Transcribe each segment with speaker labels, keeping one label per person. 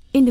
Speaker 1: verscheen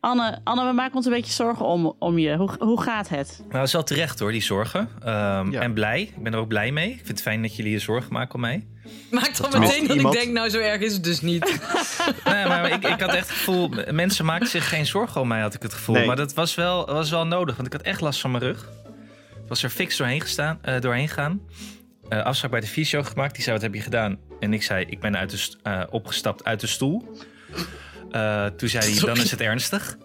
Speaker 2: Anne, Anne, we maken ons een beetje zorgen om, om je. Hoe, hoe gaat het?
Speaker 3: Nou, dat is wel terecht hoor, die zorgen. Ehm,
Speaker 4: Ja.
Speaker 3: En blij. Ik ben er ook blij mee. Ik vind het fijn dat jullie je zorgen maken om mij.
Speaker 5: Maakt al
Speaker 4: Tenminste,
Speaker 5: meteen dat ik
Speaker 4: iemand-
Speaker 5: denk, nou zo erg is het dus niet.
Speaker 3: nee, Nou maar ik, ik had echt het gevoel... Mensen maakten zich geen zorgen om mij, had ik het gevoel.
Speaker 4: Nee.
Speaker 3: Maar dat was wel, was wel nodig, want ik had echt last van mijn rug. Ik was er fix doorheen, gestaan, eh, doorheen gaan. Eh, afspraak bij de fysio gemaakt. Die zei, wat heb je gedaan? En ik zei, ik ben uit de st- eh, opgestapt uit de stoel. Eh, toen zei hij, dan is het ernstig.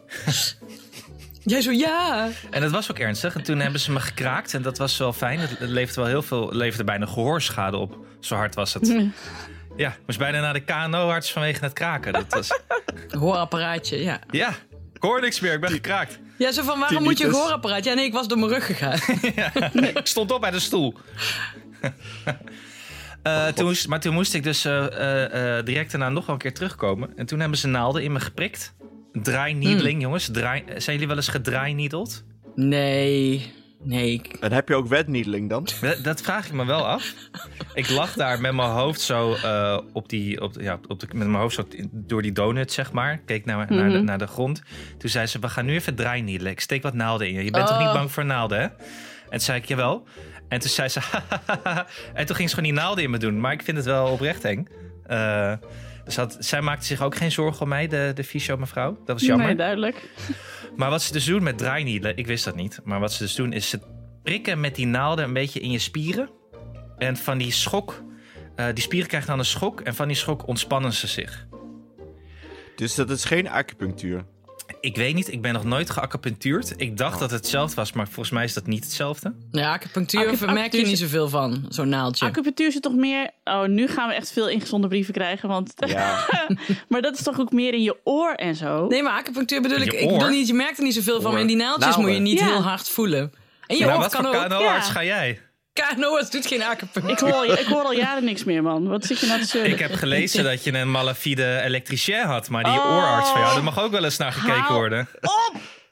Speaker 5: Jij zo, ja.
Speaker 3: En dat was ook ernstig. En toen hebben ze me gekraakt. En dat was wel fijn. Het, het leefde wel heel veel. Het leefde bijna gehoorschade op. Zo hard was het. Ja, moest bijna naar de KNO-arts vanwege het kraken. Dat was,
Speaker 5: Hoorapparaatje, ja.
Speaker 3: ja, ik hoor niks meer. Ik ben gekraakt.
Speaker 5: Ja, zo van, waarom moet je een
Speaker 4: Tinnitus.
Speaker 5: hoorapparaat? Ja, nee, ik was door mijn rug gegaan.
Speaker 3: Ik stond op uit de stoel. Eh, toen moest- maar toen moest ik dus eh, eh, eh, direct daarna nog wel een keer terugkomen. En toen hebben ze naalden in me geprikt. Draaineedling, jongens. Draai, zijn jullie wel eens gedraainiedeld?
Speaker 5: Nee, nee. ik-
Speaker 4: En heb je ook wetniedeling dan?
Speaker 3: Dat, dat vraag ik me wel af. Ik lag daar met mijn hoofd zo eh, op die, op, de- ja, op de, met mijn hoofd zo in- door die donut, zeg maar. Keek naar, naar, de, naar de grond. Toen zei ze, we gaan nu even draainiedelen. Ik steek wat naalden in je. Je bent toch
Speaker 5: Oh.
Speaker 3: niet bang voor naalden, hè? En toen zei ik, jawel. En toen zei ze, En toen ging ze gewoon die naalden in me doen. Maar ik vind het wel oprecht eng. Eh, dus had, zij maakte zich ook geen zorgen om mij, de, de fysio mevrouw. Dat was jammer.
Speaker 2: Nee, duidelijk.
Speaker 3: Maar wat ze dus doen met draaineedelen, ik wist dat niet. Maar wat ze dus doen is ze prikken met die naalden een beetje in je spieren. En van die schok, eh, die spieren krijgen dan een schok. En van die schok ontspannen ze zich.
Speaker 4: Dus dat is geen acupunctuur.
Speaker 3: Ik weet niet, ik ben nog nooit geacupunctuurd. Ik dacht dat het hetzelfde was, maar volgens mij is dat niet hetzelfde.
Speaker 5: Ja, acupunctuur
Speaker 2: Acup-
Speaker 5: merk je
Speaker 2: acupunctuur-
Speaker 5: niet zoveel van, zo'n naaldje.
Speaker 2: Acupunctuur zit toch meer. Oh, nu gaan we echt veel ingezonde brieven krijgen. Want...
Speaker 4: Ja.
Speaker 2: maar dat is toch ook meer in je oor en zo?
Speaker 5: Nee, maar acupunctuur bedoel ik,
Speaker 3: Je
Speaker 5: ik bedoel
Speaker 3: oor.
Speaker 5: niet, je merkt er niet zoveel van, maar in die naaldjes
Speaker 4: Naalden.
Speaker 5: moet je niet
Speaker 2: Ja.
Speaker 5: heel hard voelen. En je
Speaker 3: maar
Speaker 5: oor
Speaker 3: wat
Speaker 5: kan
Speaker 3: voor
Speaker 5: ook.
Speaker 3: KNO-arts
Speaker 2: ja.
Speaker 3: ga jij?
Speaker 5: Kanoas doet geen acupunctuur.
Speaker 2: Ik hoor, al- ik hoor al jaren niks meer, man. Wat zit je nou te zeuren?
Speaker 3: Ik eh, heb gelezen dat je een malafide elektricien had. Maar die
Speaker 2: Oh.
Speaker 3: oorarts van jou, daar mag ook wel eens naar gekeken
Speaker 2: Hou
Speaker 3: worden.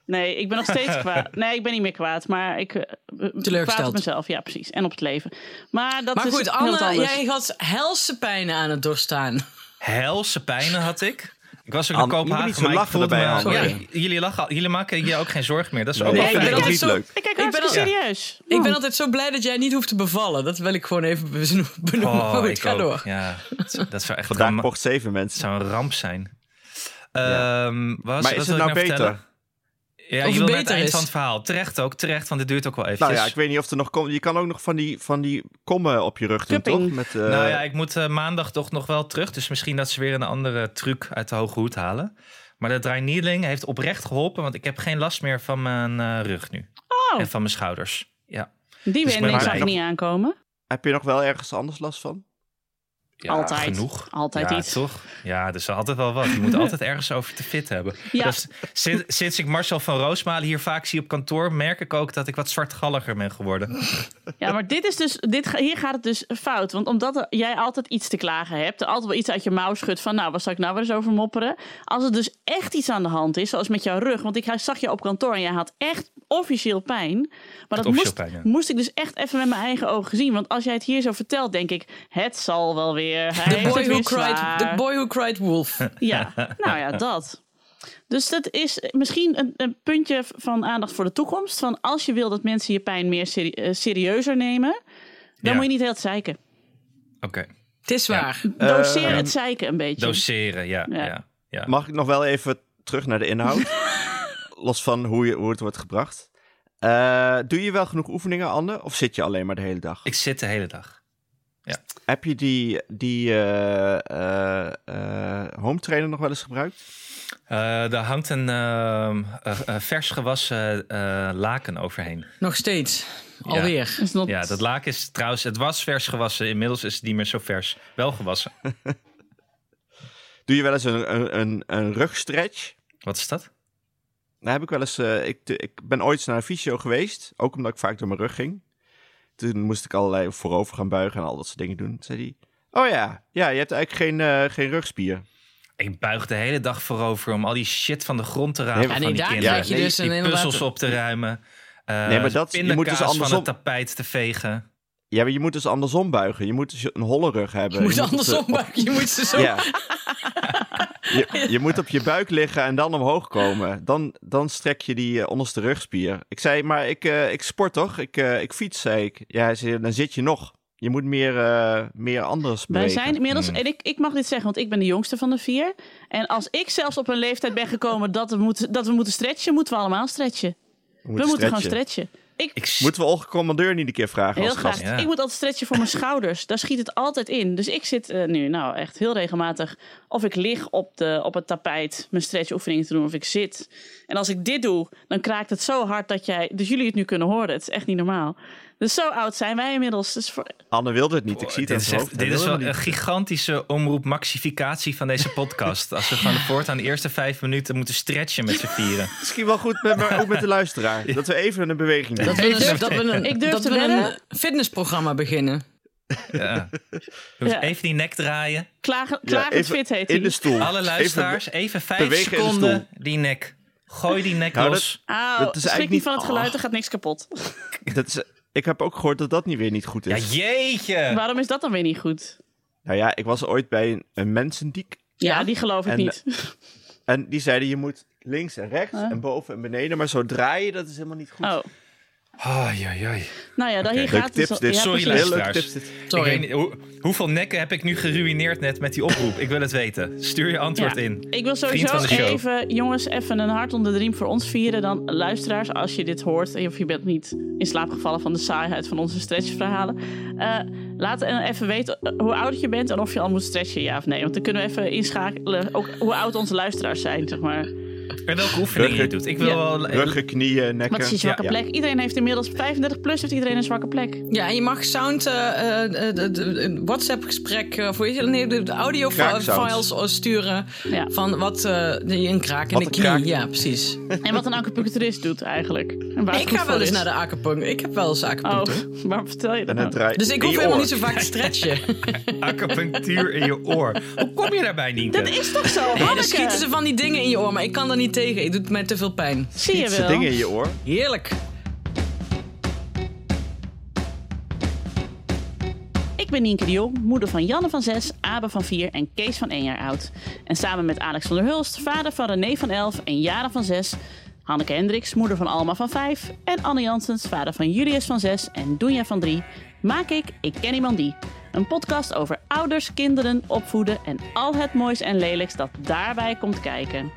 Speaker 2: Nee, ik ben nog steeds kwaad. Nee, ik ben niet meer kwaad, maar ik eh, kwaad
Speaker 5: Teleurgesteld.
Speaker 2: op mezelf. Ja, precies. En op het leven. Maar dat
Speaker 5: Maar
Speaker 2: is
Speaker 5: goed,
Speaker 2: heel wat
Speaker 5: Anne,
Speaker 2: dus anders.
Speaker 5: jij had helse pijnen aan het doorstaan.
Speaker 3: Helse pijnen had ik. Ik was ook
Speaker 4: Anne,
Speaker 3: naar
Speaker 4: je moet
Speaker 3: Kopenhagen,
Speaker 4: niet zo
Speaker 3: maar ik
Speaker 4: lachen
Speaker 3: voelde
Speaker 4: erbij,
Speaker 3: me- Ja,
Speaker 4: Anne.
Speaker 5: Sorry.
Speaker 3: jullie, lachen, al- jullie maken je ook geen zorgen meer. Dat is ook
Speaker 4: Nee,
Speaker 3: wel
Speaker 4: ik
Speaker 3: fijn.
Speaker 4: ben
Speaker 5: altijd
Speaker 4: niet
Speaker 5: zo-
Speaker 4: leuk.
Speaker 2: Ik kijk
Speaker 5: ben
Speaker 2: hartstikke
Speaker 5: al-
Speaker 2: serieus.
Speaker 5: Ik ben altijd zo blij dat jij niet hoeft te bevallen. Dat wil ik gewoon even beno- benoemen.
Speaker 3: Oh,
Speaker 5: Goed,
Speaker 3: ik
Speaker 5: ga
Speaker 3: ook.
Speaker 5: door.
Speaker 3: Ja, dat- dat zou echt
Speaker 4: Vandaag
Speaker 3: ramp-
Speaker 4: pocht zeven
Speaker 3: dat
Speaker 4: mensen.
Speaker 3: zou een ramp zijn.
Speaker 4: Ja.
Speaker 3: Ehm, wat was-
Speaker 4: Maar
Speaker 3: wat
Speaker 4: is
Speaker 3: wil
Speaker 4: het
Speaker 3: ik
Speaker 4: nou
Speaker 3: vertellen?
Speaker 4: beter?
Speaker 3: Ja, je
Speaker 5: Of het
Speaker 3: wil naar het
Speaker 5: beter
Speaker 3: eind
Speaker 5: is?
Speaker 3: van het verhaal. Terecht ook, terecht, want dit duurt ook wel Dus- eventjes.
Speaker 4: Nou ja, ik weet niet of er nog komt. Je kan ook nog van die, van die kommen op je rug doen,
Speaker 2: Cupping.
Speaker 4: toch? Met, eh,
Speaker 3: Nou ja, ik moet eh, maandag toch nog wel terug. Dus misschien dat ze weer een andere truc uit de hoge hoed halen. Maar dat draineedling heeft oprecht geholpen. Want ik heb geen last meer van mijn eh, rug nu.
Speaker 2: Oh.
Speaker 3: En van mijn schouders. Ja.
Speaker 2: Die
Speaker 3: Dus ik ben
Speaker 2: wending zag
Speaker 3: blij.
Speaker 2: ik niet aankomen.
Speaker 4: Heb je nog wel ergens anders last van?
Speaker 3: Ja,
Speaker 2: Altijd.
Speaker 3: Genoeg.
Speaker 2: Altijd
Speaker 3: ja,
Speaker 2: iets.
Speaker 3: toch? Ja, er is altijd wel wat. Je moet altijd ergens over te fit hebben.
Speaker 2: Ja.
Speaker 3: Dat is- sinds, sinds ik Marcel van Roosmalen hier vaak zie op kantoor... merk ik ook dat ik wat zwartgalliger ben geworden.
Speaker 2: Ja, maar dit is dus, dit, ga- hier gaat het dus fout. Want omdat er- jij altijd iets te klagen hebt, altijd wel iets uit je mouw schudt van, nou, wat zal ik nou weer eens over mopperen? Als er dus echt iets aan de hand is, zoals met jouw rug, want ik zag je op kantoor en jij had echt officieel pijn. Maar dat
Speaker 3: officieel
Speaker 2: moest,
Speaker 3: pijn, ja.
Speaker 2: moest ik dus echt even met mijn eigen ogen zien. Want als jij het hier zo vertelt, denk ik, het zal wel weer. Hij
Speaker 5: The
Speaker 2: heeft
Speaker 5: boy,
Speaker 2: het weer
Speaker 5: who cried,
Speaker 2: zwaar.
Speaker 5: the boy who cried wolf.
Speaker 2: Ja, nou ja, dat. Dus dat is misschien een, een puntje van aandacht voor de toekomst. Van als je wil dat mensen je pijn meer seri- eh, serieuzer nemen, dan
Speaker 3: Ja.
Speaker 2: moet je niet heel het zeiken.
Speaker 3: Oké.
Speaker 5: Het is waar.
Speaker 2: Doseer
Speaker 3: Eh, ja.
Speaker 2: het zeiken een beetje.
Speaker 3: Doseren, ja.
Speaker 2: Ja.
Speaker 3: ja. ja,
Speaker 4: Mag ik nog wel even terug naar de inhoud? Los van hoe, je, hoe het wordt gebracht. Eh, doe je wel genoeg oefeningen, Anne? Of zit je alleen maar de hele dag?
Speaker 3: Ik zit de hele dag.
Speaker 4: Heb je die, die eh, eh, eh, home trainer nog wel eens gebruikt?
Speaker 3: Eh daar hangt een ehm, eh, eh, vers gewassen eh, laken overheen.
Speaker 5: Nog steeds. Alweer.
Speaker 2: Is not-
Speaker 3: Ja, dat laken is trouwens, het was vers gewassen. Inmiddels is het niet meer zo vers. Wel gewassen.
Speaker 4: Doe je wel eens een, een, een, een rugstretch?
Speaker 3: Wat is dat?
Speaker 4: Daar heb ik wel eens. eh, ik, ik ben ooit eens naar een fysio geweest. Ook omdat ik vaak door mijn rug ging. Toen moest ik allerlei voorover gaan buigen en al dat soort dingen doen. Toen zei hij. Oh ja, ja, je hebt eigenlijk geen, eh, geen rugspier.
Speaker 3: Ik buig de hele dag voorover om al die shit van de grond te rapen
Speaker 4: Nee,
Speaker 3: van
Speaker 4: maar-
Speaker 5: en nee,
Speaker 3: die
Speaker 5: daar
Speaker 3: kinderen.
Speaker 5: krijg je
Speaker 4: Nee,
Speaker 5: dus een
Speaker 3: die
Speaker 5: inderdaad-
Speaker 3: puzzels op te ruimen. eh,
Speaker 4: Nee, maar dat- je moet dus
Speaker 3: pindakaas
Speaker 4: andersom-
Speaker 3: van het tapijt te vegen.
Speaker 4: Ja, maar je moet dus andersom buigen. Je moet dus een holle rug hebben.
Speaker 5: Je moet
Speaker 4: op de-
Speaker 5: andersom, maar je moet ze zo...
Speaker 4: Ja. Je, je moet op je buik liggen en dan omhoog komen. Dan, dan strek je die eh, onderste rugspier. Ik zei, maar ik, eh, ik sport toch? Ik, eh, ik fiets, zei ik. Ja, hij zei, dan zit je nog. Je moet meer, eh meer anders
Speaker 2: Wij
Speaker 4: bewegen.
Speaker 2: zijn inmiddels,
Speaker 3: Mm.
Speaker 2: en ik, ik mag dit zeggen, want ik ben de jongste van de vier. En als ik zelfs op een leeftijd ben gekomen dat we moeten, dat we moeten stretchen, moeten we allemaal stretchen.
Speaker 4: We
Speaker 2: we moeten
Speaker 4: stretchen.
Speaker 2: gewoon stretchen. Ik,
Speaker 3: Ik s-
Speaker 4: Moeten we Olga Commandeur niet een keer vragen
Speaker 2: heel
Speaker 4: als
Speaker 2: graag.
Speaker 4: gast?
Speaker 3: Ja.
Speaker 2: Ik moet altijd stretchen voor mijn schouders. Daar schiet het altijd in. Dus ik zit eh, nu nou echt heel regelmatig. Of ik lig op, de, op het tapijt mijn stretchoefeningen te doen, of ik zit. En als ik dit doe, dan kraakt het zo hard dat jij. Dus jullie het nu kunnen horen. Het is echt niet normaal. Dus zo oud zijn wij inmiddels. Dus voor,
Speaker 4: Anne wilde het niet. Ik zie het
Speaker 3: Oh, dit
Speaker 4: aan
Speaker 3: is,
Speaker 4: zijn
Speaker 3: echt-
Speaker 4: hoofd.
Speaker 3: dit
Speaker 4: Hij
Speaker 3: is
Speaker 4: wilde
Speaker 3: wel een
Speaker 4: het niet.
Speaker 3: gigantische omroep-maxificatie van deze podcast. Als we gewoon voortaan de eerste vijf minuten moeten stretchen met z'n vieren.
Speaker 4: Misschien wel goed met, maar ook met de luisteraar. Dat we even een beweging doen.
Speaker 5: Dat we
Speaker 2: durf-
Speaker 5: een, dat we een,
Speaker 2: ik durf
Speaker 5: dat
Speaker 2: te
Speaker 5: we een
Speaker 2: wedden.
Speaker 5: fitnessprogramma beginnen.
Speaker 3: Ja. Doe eens
Speaker 2: Ja.
Speaker 3: Even die nek draaien.
Speaker 2: klagen,
Speaker 4: Ja,
Speaker 2: klagend
Speaker 4: even
Speaker 2: fit heet
Speaker 4: In
Speaker 2: hij.
Speaker 4: de stoel.
Speaker 3: Alle luisteraars,
Speaker 4: Even-
Speaker 3: even vijf
Speaker 4: bewegen in de
Speaker 3: seconden die nek. Gooi die nek
Speaker 4: Nou,
Speaker 3: los.
Speaker 2: Au, Ah,
Speaker 4: Dat is
Speaker 2: schrik
Speaker 4: eigenlijk
Speaker 2: niet van
Speaker 4: niet-
Speaker 2: het geluid,
Speaker 4: Oh.
Speaker 2: er gaat niks kapot.
Speaker 4: dat is, ik heb ook gehoord dat dat niet weer niet goed
Speaker 3: Ja,
Speaker 4: is.
Speaker 3: jeetje.
Speaker 2: Waarom is dat dan weer niet goed?
Speaker 4: Nou ja, ik was ooit bij een, een mensendiek.
Speaker 2: Ja, die geloof ik
Speaker 4: En-
Speaker 2: niet.
Speaker 4: En die zeiden, je moet links en rechts en boven en beneden. Maar zo draaien, dat is helemaal niet goed.
Speaker 2: Oh.
Speaker 3: Ai, ai, ai.
Speaker 2: Nou ja, daar hier
Speaker 4: eh, Leuke
Speaker 2: gaat
Speaker 4: tips
Speaker 2: dus... al-
Speaker 4: dit.
Speaker 2: ja,
Speaker 3: Sorry,
Speaker 2: precies.
Speaker 4: Heel leuke
Speaker 3: luisteraars.
Speaker 4: tips dit.
Speaker 5: Sorry.
Speaker 3: Ik weet niet, hoe, hoeveel nekken heb ik nu geruineerd net met die oproep? Ik wil het weten. Stuur je antwoord
Speaker 2: Ja.
Speaker 3: in.
Speaker 2: Ik wil
Speaker 3: Vriend van
Speaker 2: sowieso
Speaker 3: de show.
Speaker 2: even, jongens, even een hart onder de riem voor ons vieren. Dan luisteraars, als je dit hoort of je bent niet in slaap gevallen van de saaiheid van onze stretchverhalen. eh, laat eh, even weten eh, hoe oud je bent en of je al moet stretchen, ja of nee. Want dan kunnen we even inschakelen ook hoe oud onze luisteraars zijn, zeg maar.
Speaker 3: En welke oefeningen je
Speaker 4: Ruggen-
Speaker 3: doet. Ik wil
Speaker 2: Ja.
Speaker 3: wel...
Speaker 4: Ruggen, knieën, nekken.
Speaker 2: Wat is die zwakke
Speaker 4: Ja.
Speaker 2: plek? Iedereen heeft inmiddels 35 plus, heeft iedereen een zwakke plek.
Speaker 5: Ja, en je mag sound, eh, eh, eh, eh, eh, WhatsApp-gesprek, eh, voor je, nee, de de
Speaker 4: Kraaksound.
Speaker 5: audio-files eh, sturen
Speaker 2: Ja.
Speaker 5: van wat eh, die een kraak in
Speaker 4: Wat
Speaker 5: de
Speaker 4: een
Speaker 5: knie.
Speaker 4: kraak.
Speaker 5: Ja, precies.
Speaker 2: En wat een acupuncturist doet eigenlijk. En waar het
Speaker 5: ik
Speaker 2: goed
Speaker 5: ga
Speaker 2: voor
Speaker 5: wel eens
Speaker 2: is.
Speaker 5: naar de acupunctuur. Ik heb wel eens acupunctuur.
Speaker 2: Oh, waarom vertel je dat
Speaker 4: En
Speaker 2: nou?
Speaker 4: het draait
Speaker 5: Dus ik
Speaker 4: in
Speaker 5: hoef
Speaker 4: je
Speaker 5: helemaal
Speaker 4: oor.
Speaker 5: niet zo vaak te stretchen.
Speaker 3: Acupunctuur in je oor. Hoe kom je daarbij, Nienke?
Speaker 2: Dat is toch zo,
Speaker 5: Nee, dan
Speaker 2: Hanneke?
Speaker 5: schieten ze van die dingen in je oor, maar ik kan daar niet tegen. Het doet mij te veel pijn.
Speaker 2: Zie je
Speaker 4: Iets
Speaker 2: wel.
Speaker 4: dingen in je oor.
Speaker 5: Heerlijk.
Speaker 2: Ik ben Nienke de Jong, moeder van Janne van 6, Abe van 4 en Kees van 1 jaar oud. En samen met Alex van der Hulst, vader van René van 11 en Jara van 6... Hanneke Hendricks, moeder van Alma van 5... en Anne Janssens, vader van Julius van 6 en Doenja van 3... maak ik Ik Ken Iemand Die. Een podcast over ouders, kinderen, opvoeden... en al het moois en lelijks dat daarbij komt kijken.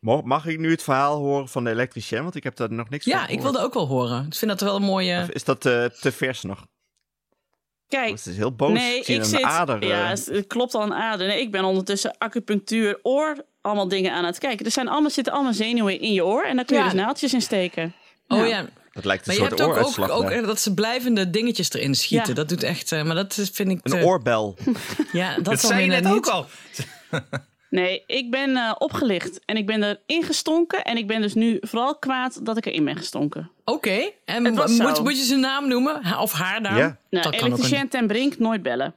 Speaker 4: Mo- Mag ik nu het verhaal horen van de elektricien? Want ik heb daar nog niks van
Speaker 5: Ja, ik wilde ook wel horen. Ik vind dat wel een
Speaker 4: Of
Speaker 5: mooie...
Speaker 4: is dat eh, te vers nog?
Speaker 2: Kijk,
Speaker 4: Het is heel boos.
Speaker 2: Nee,
Speaker 4: ik zie
Speaker 2: ik
Speaker 4: een
Speaker 2: zit.
Speaker 4: ader. eh.
Speaker 2: ja, het klopt al een ader. Nee, ik ben ondertussen acupunctuur, oor, allemaal dingen aan het kijken. Er zijn allemaal, zitten allemaal zenuwen in je oor en daar kun je
Speaker 5: Ja.
Speaker 2: dus naaldjes in steken.
Speaker 5: Oh ja,
Speaker 4: dat lijkt een
Speaker 5: maar
Speaker 4: soort
Speaker 5: je hebt ook, ook,
Speaker 4: ooruitslag.
Speaker 5: ook
Speaker 4: hè?
Speaker 5: eh, dat ze blijvende dingetjes erin schieten.
Speaker 2: Ja.
Speaker 5: Dat doet echt... eh, maar dat is- vind ik...
Speaker 4: een
Speaker 5: te-
Speaker 4: oorbel.
Speaker 5: Ja,
Speaker 3: Dat
Speaker 5: dat, dan
Speaker 3: zei je
Speaker 5: weer
Speaker 3: net
Speaker 5: niet.
Speaker 3: ook al.
Speaker 2: Nee, ik ben eh, opgelicht en ik ben erin gestonken. En ik ben dus nu vooral kwaad dat ik erin ben gestonken.
Speaker 5: Oké, en
Speaker 2: Het was
Speaker 5: mo-
Speaker 2: zo.
Speaker 5: moet, moet je zijn naam noemen? Ha- Of haar naam?
Speaker 4: Ja.
Speaker 2: Nou, elektricien ten Brink, nooit bellen.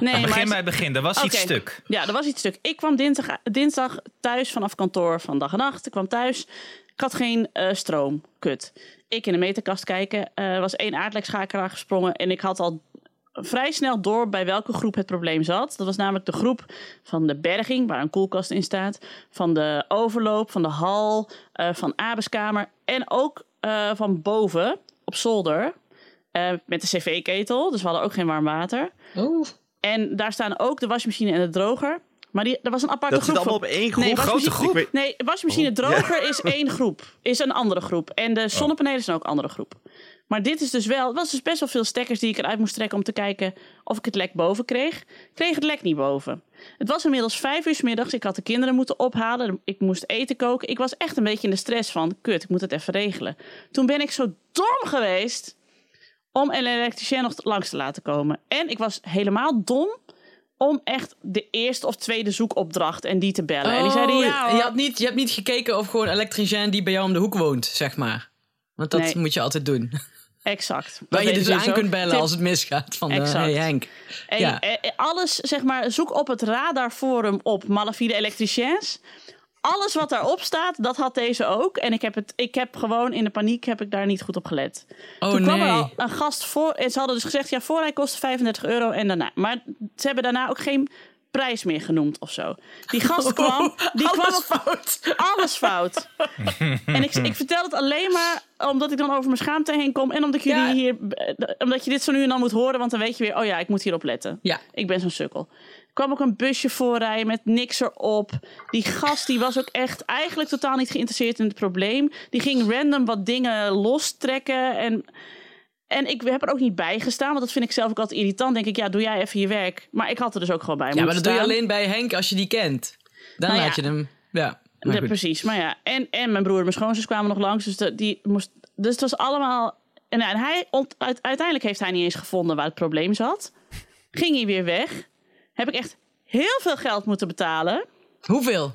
Speaker 2: Nee,
Speaker 3: Begin bij het begin. Er was iets
Speaker 2: Oké.
Speaker 3: stuk.
Speaker 2: Ja, er was iets stuk. Ik kwam dinsdag, dinsdag thuis vanaf kantoor van dag en nacht. Ik kwam thuis. Ik had geen eh, stroom. Kut. Ik in de meterkast kijken. Eh, er was één aardlijkschakelaar gesprongen. En ik had al vrij snel door bij welke groep het probleem zat. Dat was namelijk de groep van de berging, waar een koelkast in staat. Van de overloop, van de hal, eh, van Abeskamer. En ook eh, van boven, op zolder. eh, met de cv-ketel. Dus we hadden ook geen warm water.
Speaker 5: Oh.
Speaker 2: En daar staan ook de wasmachine en de droger. Maar die, er was een aparte
Speaker 4: Dat
Speaker 2: groep.
Speaker 4: zit allemaal op
Speaker 2: van-
Speaker 4: één groep.
Speaker 2: Nee, was
Speaker 3: Grote
Speaker 2: misschien-
Speaker 3: groep.
Speaker 4: Ik weet-
Speaker 2: Nee, wasmachine droger is één groep. Is een andere groep. En de zonnepanelen zijn ook een andere groep. Maar dit is dus wel... Het was dus best wel veel stekkers die ik eruit moest trekken... om te kijken of ik het lek boven kreeg. Ik kreeg het lek niet boven. Het was inmiddels vijf uur 's middags. Ik had de kinderen moeten ophalen. Ik moest eten koken. Ik was echt een beetje in de stress van... Kut, ik moet het even regelen. Toen ben ik zo dom geweest... om een elektricien nog langs te laten komen. En ik was helemaal dom... Om echt de eerste of tweede zoekopdracht en die te bellen. en die zeiden
Speaker 5: Oh,
Speaker 2: ja. hoor."
Speaker 5: je, had niet, je hebt niet gekeken of gewoon een elektricien die bij jou om de hoek woont, zeg maar. Want dat
Speaker 2: Nee.
Speaker 5: moet je altijd doen.
Speaker 2: Exact. Dat
Speaker 5: Waar je
Speaker 2: weet
Speaker 5: dus
Speaker 2: ik
Speaker 5: aan
Speaker 2: ook.
Speaker 5: kunt bellen
Speaker 2: Tip.
Speaker 5: als het misgaat. Van, eh,
Speaker 2: Exact.
Speaker 5: hey Henk.
Speaker 2: En,
Speaker 5: ja.
Speaker 2: eh, eh, alles, zeg maar, zoek op het radarforum op malafide elektriciens. Alles wat daarop staat, dat had deze ook. En ik heb, het, ik heb gewoon in de paniek heb ik daar niet goed op gelet.
Speaker 5: Oh
Speaker 2: Toen kwam
Speaker 5: nee.
Speaker 2: er al een gast voor. En ze hadden dus gezegd, ja, voorrij kostte 35 euro en daarna. Maar ze hebben daarna ook geen prijs meer genoemd of zo. Die gast kwam, die
Speaker 5: Alles
Speaker 2: kwam op
Speaker 5: fout.
Speaker 2: alles fout. en ik, ik vertel het alleen maar omdat ik dan over mijn schaamte heen kom. En omdat, ik jullie
Speaker 5: Ja.
Speaker 2: hier, eh, omdat je dit zo nu en dan moet horen. Want dan weet je weer, oh ja, ik moet hierop letten.
Speaker 5: Ja.
Speaker 2: Ik ben zo'n sukkel. Er kwam ook een busje voorrijden met niks erop. Die gast die was ook echt eigenlijk totaal niet geïnteresseerd in het probleem. Die ging random wat dingen lostrekken. En, en ik heb er ook niet bij gestaan. Want dat vind ik zelf ook altijd irritant. Denk ik, ja, doe jij even je werk. Maar ik had er dus ook gewoon bij
Speaker 5: ja,
Speaker 2: moeten
Speaker 5: maar dat doe je
Speaker 2: staan.
Speaker 5: alleen bij Henk als je die kent. Dan
Speaker 2: Nou ja.
Speaker 5: laat je hem... Ja, maar
Speaker 2: Ja,
Speaker 5: goed.
Speaker 2: precies, maar ja. En, en mijn broer en mijn schoonzus kwamen nog langs. Dus, de- die moest, dus het was allemaal... En, ja, en hij ont- uit- uiteindelijk heeft hij niet eens gevonden waar het probleem zat. Ging hij weer weg. Heb ik echt heel veel geld moeten betalen.
Speaker 5: Hoeveel?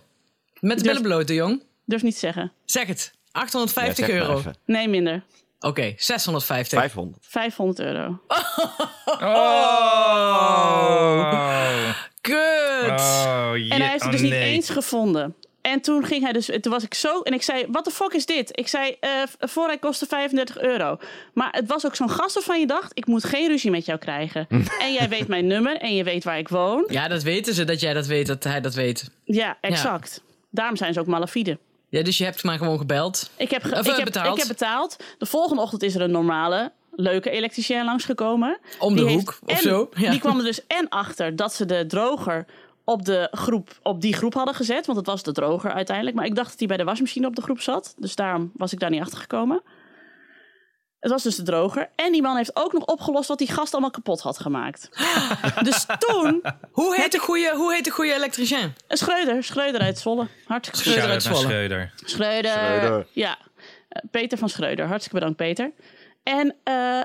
Speaker 5: Met
Speaker 2: Dus-
Speaker 5: de billen bloot, hè, jong.
Speaker 2: Durf niet te zeggen.
Speaker 5: Zeg het.
Speaker 4: Ja,
Speaker 5: 850
Speaker 4: zeg maar
Speaker 5: euro. Oké,
Speaker 4: even.
Speaker 2: Nee, minder.
Speaker 5: 650.
Speaker 4: 500.
Speaker 2: 500 euro. Oh.
Speaker 3: Oh.
Speaker 5: Kut!
Speaker 3: Oh, je-
Speaker 2: En hij heeft het
Speaker 3: oh,
Speaker 2: dus niet
Speaker 3: nee.
Speaker 2: eens gevonden. En toen ging hij dus, toen was ik zo, en ik zei, wat de fuck is dit? Ik zei, eh voorrij kostte 35 euro. Maar het was ook zo'n gast waarvan je dacht, ik moet geen ruzie met jou krijgen. en jij weet mijn nummer en je weet waar ik woon.
Speaker 5: Ja, dat weten ze, dat jij dat weet, dat hij dat weet.
Speaker 2: Ja, exact. Daarom zijn ze ook malafide.
Speaker 5: Ja, dus je hebt maar gewoon gebeld.
Speaker 2: Ik heb, ge-
Speaker 5: Of,
Speaker 2: ik,
Speaker 5: eh,
Speaker 2: heb,
Speaker 5: betaald.
Speaker 2: ik heb betaald. De volgende ochtend is er een normale, leuke elektricien langsgekomen.
Speaker 5: Om de
Speaker 2: Die
Speaker 5: hoek
Speaker 2: heeft-
Speaker 5: of
Speaker 2: en
Speaker 5: zo, ja.
Speaker 2: Die kwam er dus en achter dat ze de droger op, de groep, op die groep hadden gezet. Want het was de droger uiteindelijk. Maar ik dacht dat hij bij de wasmachine op de groep zat. Dus daarom was ik daar niet achter gekomen. Het was dus de droger. En die man heeft ook nog opgelost wat die gast allemaal kapot had gemaakt. dus toen...
Speaker 5: Hoe heet de goede, hoe heet de goede elektricien?
Speaker 2: Een Schreuder. Schreuder uit Zwolle. Hartstikke goed.
Speaker 5: Schreuder
Speaker 3: Shout-out
Speaker 5: uit
Speaker 3: naar
Speaker 5: Zwolle.
Speaker 3: Schreuder.
Speaker 2: Schreuder.
Speaker 4: Schreuder.
Speaker 2: Ja, Eh, Peter van Schreuder. Hartstikke bedankt, Peter. En eh,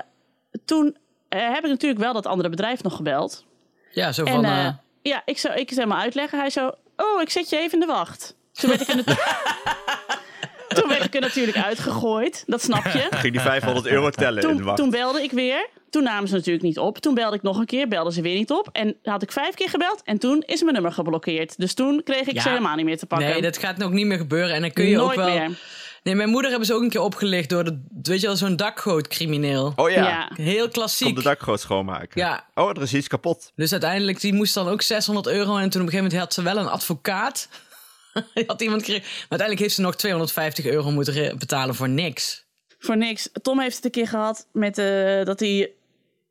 Speaker 2: toen eh, heb ik natuurlijk wel dat andere bedrijf nog gebeld.
Speaker 5: Ja, zo
Speaker 2: En
Speaker 5: van...
Speaker 2: eh,
Speaker 5: eh,
Speaker 2: ja, ik zou ik zou hem uitleggen. Hij zo, oh, ik zet je even in de wacht. Toen werd ik er, natu- toen werd ik er natuurlijk uitgegooid. Dat snap je.
Speaker 4: Ging die 500 euro tellen in de
Speaker 2: Toen,
Speaker 4: wacht.
Speaker 2: toen belde ik weer. Toen namen ze natuurlijk niet op. Toen belde ik nog een keer. Belden ze weer niet op. En had ik vijf keer gebeld. En toen is mijn nummer geblokkeerd. Dus toen kreeg ik
Speaker 5: Ja.
Speaker 2: ze helemaal niet meer te pakken.
Speaker 5: Nee, dat gaat ook niet meer gebeuren. En dan kun je
Speaker 2: Nooit
Speaker 5: ook wel...
Speaker 2: meer.
Speaker 5: Nee, mijn moeder hebben ze ook een keer opgelicht door, de, weet je wel, zo'n dakgootcrimineel.
Speaker 4: Oh ja,
Speaker 2: ja.
Speaker 5: Heel
Speaker 4: kom de
Speaker 5: klassiek.
Speaker 4: dakgoot schoonmaken.
Speaker 5: Ja.
Speaker 4: Oh, er is iets kapot.
Speaker 5: Dus uiteindelijk, die moest dan ook 600 euro. En toen op een gegeven moment had ze wel een advocaat. Die had iemand gekregen. Maar uiteindelijk heeft ze nog 250 euro moeten re- betalen voor niks.
Speaker 2: voor niks. Tom heeft het een keer gehad met eh, dat hij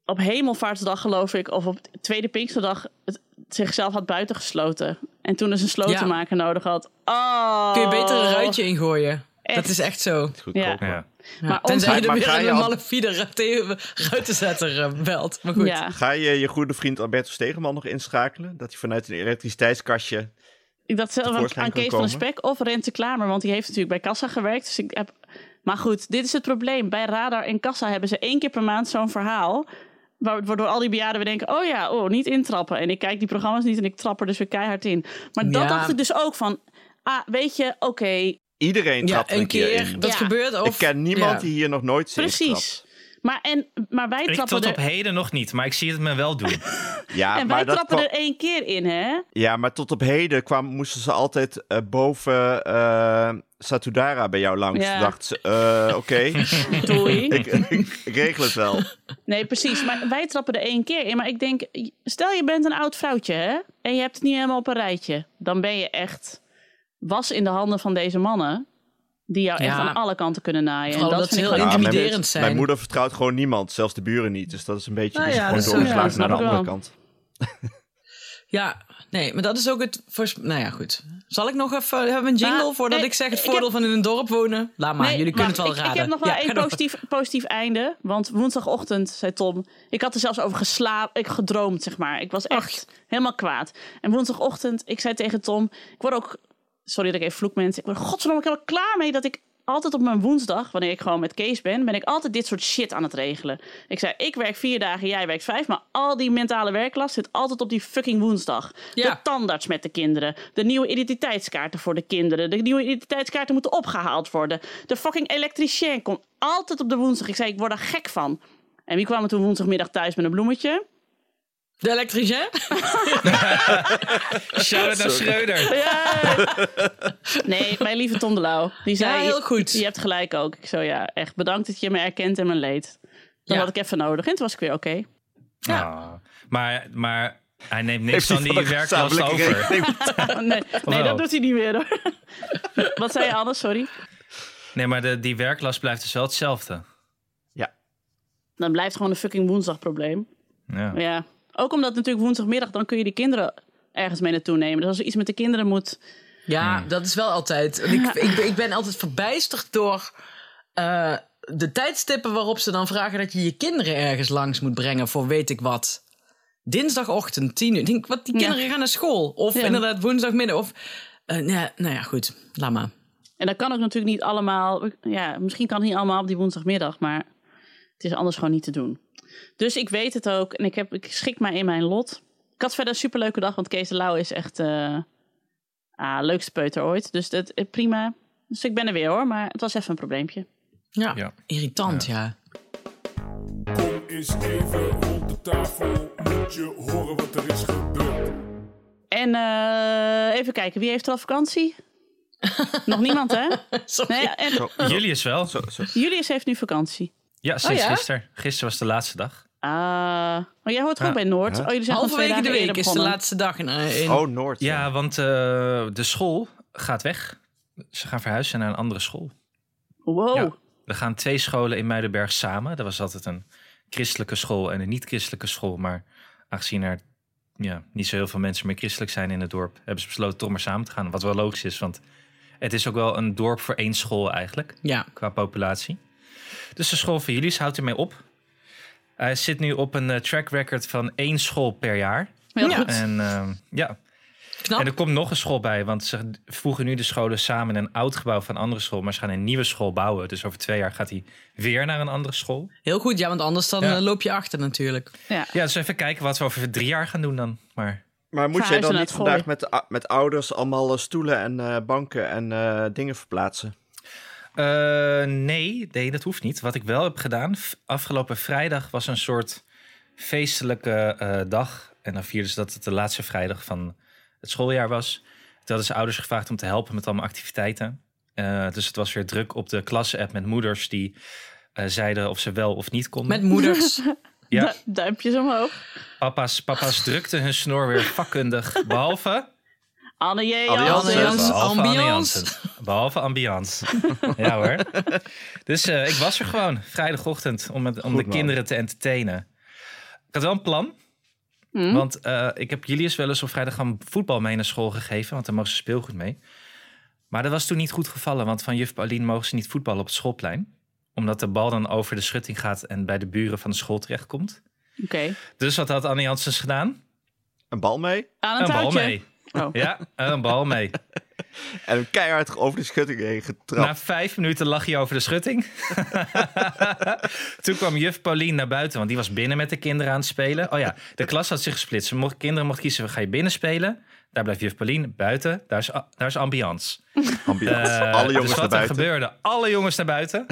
Speaker 2: op hemelvaartsdag, geloof ik, of op tweede Pinksterdag het, zichzelf had buitengesloten. En toen dus een slotenmaker nodig had. Oh.
Speaker 5: Kun je beter een ruitje ingooien? Dat
Speaker 2: Echt.
Speaker 5: is echt zo.
Speaker 4: Goed
Speaker 2: Oh. Ja.
Speaker 3: Ja.
Speaker 2: Maar
Speaker 5: Tenzij je
Speaker 2: ons-
Speaker 5: er
Speaker 4: Maar
Speaker 5: weer
Speaker 4: ga
Speaker 5: aan
Speaker 4: je
Speaker 5: een
Speaker 4: al-
Speaker 5: malafide rate- ruitenzetter eh, belt. Maar goed.
Speaker 2: Ja,
Speaker 4: Ga je je goede vriend Alberto Stegeman nog inschakelen? Dat hij vanuit een elektriciteitskastje...
Speaker 2: ik dacht zelf aan,
Speaker 4: tevoorschijn
Speaker 2: aan
Speaker 4: kan
Speaker 2: Kees van der
Speaker 4: komen.
Speaker 2: Spek of Rente Klamer, want die heeft natuurlijk bij Kassa gewerkt. Dus ik heb... Maar goed, dit is het probleem. Bij Radar en Kassa hebben ze één keer per maand zo'n verhaal. wa- Waardoor al die bejaarden weer denken, oh ja, oh, niet intrappen. En ik kijk die programma's niet en ik trap er dus weer keihard in. Maar dat
Speaker 5: Ja.
Speaker 2: dacht ik dus ook van, ah, weet je, oké,
Speaker 4: Iedereen
Speaker 5: Ja,
Speaker 4: trapt er
Speaker 5: een keer.
Speaker 4: in.
Speaker 5: Dat
Speaker 2: Ja.
Speaker 5: gebeurt. Of,
Speaker 4: Ik ken niemand
Speaker 5: Ja.
Speaker 4: die hier nog nooit zit.
Speaker 2: Precies. Maar, en, maar wij
Speaker 3: Ik
Speaker 2: trappen
Speaker 3: tot op
Speaker 2: er,
Speaker 3: heden nog niet, maar ik zie het me wel doen.
Speaker 4: Ja,
Speaker 2: en wij
Speaker 4: maar dat
Speaker 2: trappen
Speaker 4: kwam-
Speaker 2: er één keer in, hè?
Speaker 4: Ja, maar tot op heden kwam, moesten ze altijd eh, boven eh, Satudara bij jou langs.
Speaker 2: Ja.
Speaker 4: Toen dacht ze, eh, oké,
Speaker 2: Doei.
Speaker 4: ik, ik regel het wel.
Speaker 2: Nee, precies. Maar wij trappen er één keer in. Maar ik denk, stel je bent een oud vrouwtje, hè? En je hebt het niet helemaal op een rijtje. Dan ben je echt was in de handen van deze mannen. Die jou echt
Speaker 5: Ja.
Speaker 2: aan alle kanten kunnen naaien.
Speaker 5: Vooral
Speaker 2: en dat
Speaker 5: dat
Speaker 2: vind
Speaker 5: ze
Speaker 2: ik
Speaker 5: heel
Speaker 2: wel-
Speaker 4: Ja,
Speaker 5: Intimiderend
Speaker 4: mijn,
Speaker 5: zijn.
Speaker 4: Mijn moeder vertrouwt gewoon niemand, zelfs de buren niet. Dus dat is een beetje
Speaker 5: Nou
Speaker 4: die is
Speaker 5: ja,
Speaker 4: gewoon
Speaker 5: dat is-
Speaker 4: doorgeslagen
Speaker 2: ja,
Speaker 4: naar de
Speaker 2: snap ik
Speaker 4: andere
Speaker 2: wel.
Speaker 4: kant.
Speaker 5: Ja, nee, maar dat is ook het... vers- Nou ja, goed. Zal ik nog even... Hebben we een jingle
Speaker 2: Maar-
Speaker 5: voordat
Speaker 2: nee,
Speaker 5: ik zeg het
Speaker 2: ik
Speaker 5: voordeel van in een dorp wonen? Laat maar,
Speaker 2: Nee,
Speaker 5: jullie kunnen het
Speaker 2: wacht,
Speaker 5: wel
Speaker 2: ik,
Speaker 5: raden.
Speaker 2: ik heb nog wel
Speaker 5: Ja, ga
Speaker 2: één
Speaker 5: door.
Speaker 2: positief, positief einde. Want woensdagochtend, zei Tom, ik had er zelfs over geslapen, ik gedroomd, zeg maar. Ik was echt helemaal kwaad. En woensdagochtend, ik zei tegen Tom, ik word ook, sorry dat ik even vloek mensen, ik word er godverdomme ook helemaal klaar mee dat ik altijd op mijn woensdag, wanneer ik gewoon met Kees ben, ben ik altijd dit soort shit aan het regelen. Ik zei, ik werk vier dagen, jij werkt vijf, maar al die mentale werklast zit altijd op die fucking woensdag.
Speaker 5: Ja.
Speaker 2: De tandarts met de kinderen. De nieuwe identiteitskaarten voor de kinderen. De nieuwe identiteitskaarten moeten opgehaald worden. De fucking elektricien komt altijd op de woensdag. Ik zei, ik word er gek van. En wie kwam er toen woensdagmiddag thuis met een bloemetje?
Speaker 5: De elektricien?
Speaker 3: Shout-out naar Schreuder.
Speaker 2: Ja. nee, mijn lieve Tom de Lauw. Die zei,
Speaker 5: Ja, heel goed.
Speaker 2: Je, hebt gelijk ook. Ik zo, ja, echt bedankt dat je me erkent en mijn leed. Dat
Speaker 5: Ja.
Speaker 2: had ik even nodig. En toen was ik weer oké.
Speaker 3: Ah, maar, maar hij neemt niks
Speaker 4: Heeft
Speaker 3: van
Speaker 4: hij
Speaker 3: die werklast
Speaker 4: gezamenlijke
Speaker 3: over.
Speaker 4: rekening?
Speaker 2: Nee, nee,
Speaker 3: Wel.
Speaker 2: dat doet hij niet meer hoor. Wat zei je anders? Sorry.
Speaker 3: Nee, maar de, die werklast blijft dus wel hetzelfde.
Speaker 2: Dan blijft gewoon een fucking woensdagprobleem.
Speaker 3: Ja.
Speaker 2: Ja, ook omdat natuurlijk woensdagmiddag dan kun je die kinderen ergens mee naartoe nemen. Dus als er iets met de kinderen moet.
Speaker 5: Ja,
Speaker 3: Hmm.
Speaker 5: dat is wel altijd. Want Ik, ik, ben- ik ben altijd verbijsterd door eh, de tijdstippen waarop ze dan vragen dat je je kinderen ergens langs moet brengen voor weet ik wat. Dinsdagochtend, tien uur. Ik denk, wat, die
Speaker 2: Ja.
Speaker 5: kinderen gaan naar school. Of
Speaker 2: Ja.
Speaker 5: inderdaad woensdagmiddag. Of, eh, nee, nou ja, goed. Laat maar.
Speaker 2: En dat kan ook natuurlijk niet allemaal. Ja, misschien kan het niet allemaal op die woensdagmiddag, maar het is anders gewoon niet te doen. Dus ik weet het ook en ik, heb, ik schik mij in mijn lot. Ik had verder een superleuke dag, want Kees de Lauw is echt. eh ah, leukste peuter ooit. Dus dat, eh, prima. Dus ik ben er weer hoor, maar het was even een probleempje.
Speaker 5: Ja,
Speaker 3: Ja.
Speaker 5: irritant, ja.
Speaker 6: Kom eens even rond de tafel, moet je horen wat er is gebeurd.
Speaker 2: En eh, even kijken, wie heeft er al vakantie? Nog niemand, hè?
Speaker 5: Sorry.
Speaker 2: Nee, en
Speaker 4: Zo, zo,
Speaker 3: Julius wel.
Speaker 4: zo, zo.
Speaker 2: Julius heeft nu vakantie.
Speaker 3: Ja, sinds
Speaker 5: ja?
Speaker 3: gisteren. Gisteren was de laatste dag.
Speaker 2: Ah, maar jij hoort gewoon
Speaker 3: Ja.
Speaker 2: bij Noord.
Speaker 4: Ja.
Speaker 2: Oh, jullie zijn gewoon twee
Speaker 5: Halverwege de
Speaker 2: dagen
Speaker 5: week
Speaker 2: eerder
Speaker 5: is de
Speaker 2: begonnen.
Speaker 5: laatste dag. In, eh, in-
Speaker 4: Oh, Noord.
Speaker 3: Ja, want eh, de school gaat weg. Ze gaan verhuizen naar een andere school.
Speaker 2: Wow.
Speaker 3: Ja. Er gaan twee scholen in Muidenberg samen. Dat was altijd een christelijke school en een niet-christelijke school. Maar aangezien er ja, niet zo heel veel mensen meer christelijk zijn in het dorp, hebben ze besloten toch maar samen te gaan. Wat wel logisch is, want het is ook wel een dorp voor één school eigenlijk,
Speaker 5: Ja,
Speaker 3: qua populatie. Dus de school van Julius houdt ermee op. Hij zit nu op een eh, track record van één school per jaar.
Speaker 2: Heel
Speaker 5: Ja.
Speaker 2: goed.
Speaker 3: En eh, ja, en
Speaker 5: knap.
Speaker 3: er komt nog een school bij, want ze voegen nu de scholen samen in een oud gebouw van een andere school, maar ze gaan een nieuwe school bouwen. Dus over twee jaar gaat hij weer naar een andere school.
Speaker 5: Heel goed, ja, want anders dan
Speaker 3: Ja.
Speaker 5: eh, loop je achter natuurlijk.
Speaker 2: Ja.
Speaker 3: Ja, dus even kijken wat we over drie jaar gaan doen dan. Maar
Speaker 4: Maar moet jij
Speaker 2: Verhuizen
Speaker 4: dan
Speaker 2: naar
Speaker 4: niet
Speaker 2: het Gooi.
Speaker 4: vandaag met, de- met ouders allemaal eh, stoelen en eh, banken en eh, dingen verplaatsen?
Speaker 3: eh, nee, nee, dat hoeft niet. Wat ik wel heb gedaan, v- afgelopen vrijdag was een soort feestelijke eh, dag. En dan vierden ze dat het de laatste vrijdag van het schooljaar was. Toen hadden ze ouders gevraagd om te helpen met allemaal activiteiten. Eh, dus het was weer druk op de klas-app met moeders die eh, zeiden of ze wel of niet konden.
Speaker 5: Met moeders.
Speaker 3: ja.
Speaker 2: Du- duimpjes omhoog.
Speaker 3: Papa's, papa's drukten hun snor weer vakkundig. Behalve
Speaker 2: Anne J.
Speaker 4: Anne
Speaker 2: Jansen.
Speaker 5: Jansen. Jansen.
Speaker 3: Behalve Anne
Speaker 5: ambiance.
Speaker 3: Jansen. Behalve ambiance. ja hoor. Dus eh, ik was er gewoon vrijdagochtend om, met, om
Speaker 4: Goed,
Speaker 3: de
Speaker 4: man.
Speaker 3: kinderen te entertainen. Ik had wel een plan.
Speaker 2: Mm.
Speaker 3: Want eh, ik heb Julius wel eens op vrijdag gaan voetbal mee naar school gegeven. Want daar mogen ze speelgoed mee. Maar dat was toen niet goed gevallen. Want van juf Pauline mogen ze niet voetballen op het schoolplein. Omdat de bal dan over de schutting gaat en bij de buren van de school terechtkomt.
Speaker 2: Oké.
Speaker 3: Dus wat had Anne Janssens gedaan?
Speaker 4: Een bal mee
Speaker 2: Aan
Speaker 3: Een
Speaker 2: het
Speaker 3: bal
Speaker 2: touwtje.
Speaker 3: mee.
Speaker 2: Oh.
Speaker 3: Ja, een bal mee.
Speaker 4: en hem keihard over de schutting heen getrapt.
Speaker 3: Na vijf minuten lag hij over de schutting. Toen kwam juf Pauline naar buiten, want die was binnen met de kinderen aan het spelen. Oh ja, de klas had zich gesplitst. Ze mocht, kinderen mochten kiezen, ga je binnen spelen? Daar blijft juf Pauline, buiten, daar is, a- daar is ambiance.
Speaker 4: Ambiance.
Speaker 3: Eh,
Speaker 4: Alle
Speaker 3: dus
Speaker 4: jongens naar
Speaker 3: wat er
Speaker 4: buiten.
Speaker 3: gebeurde, alle jongens naar buiten.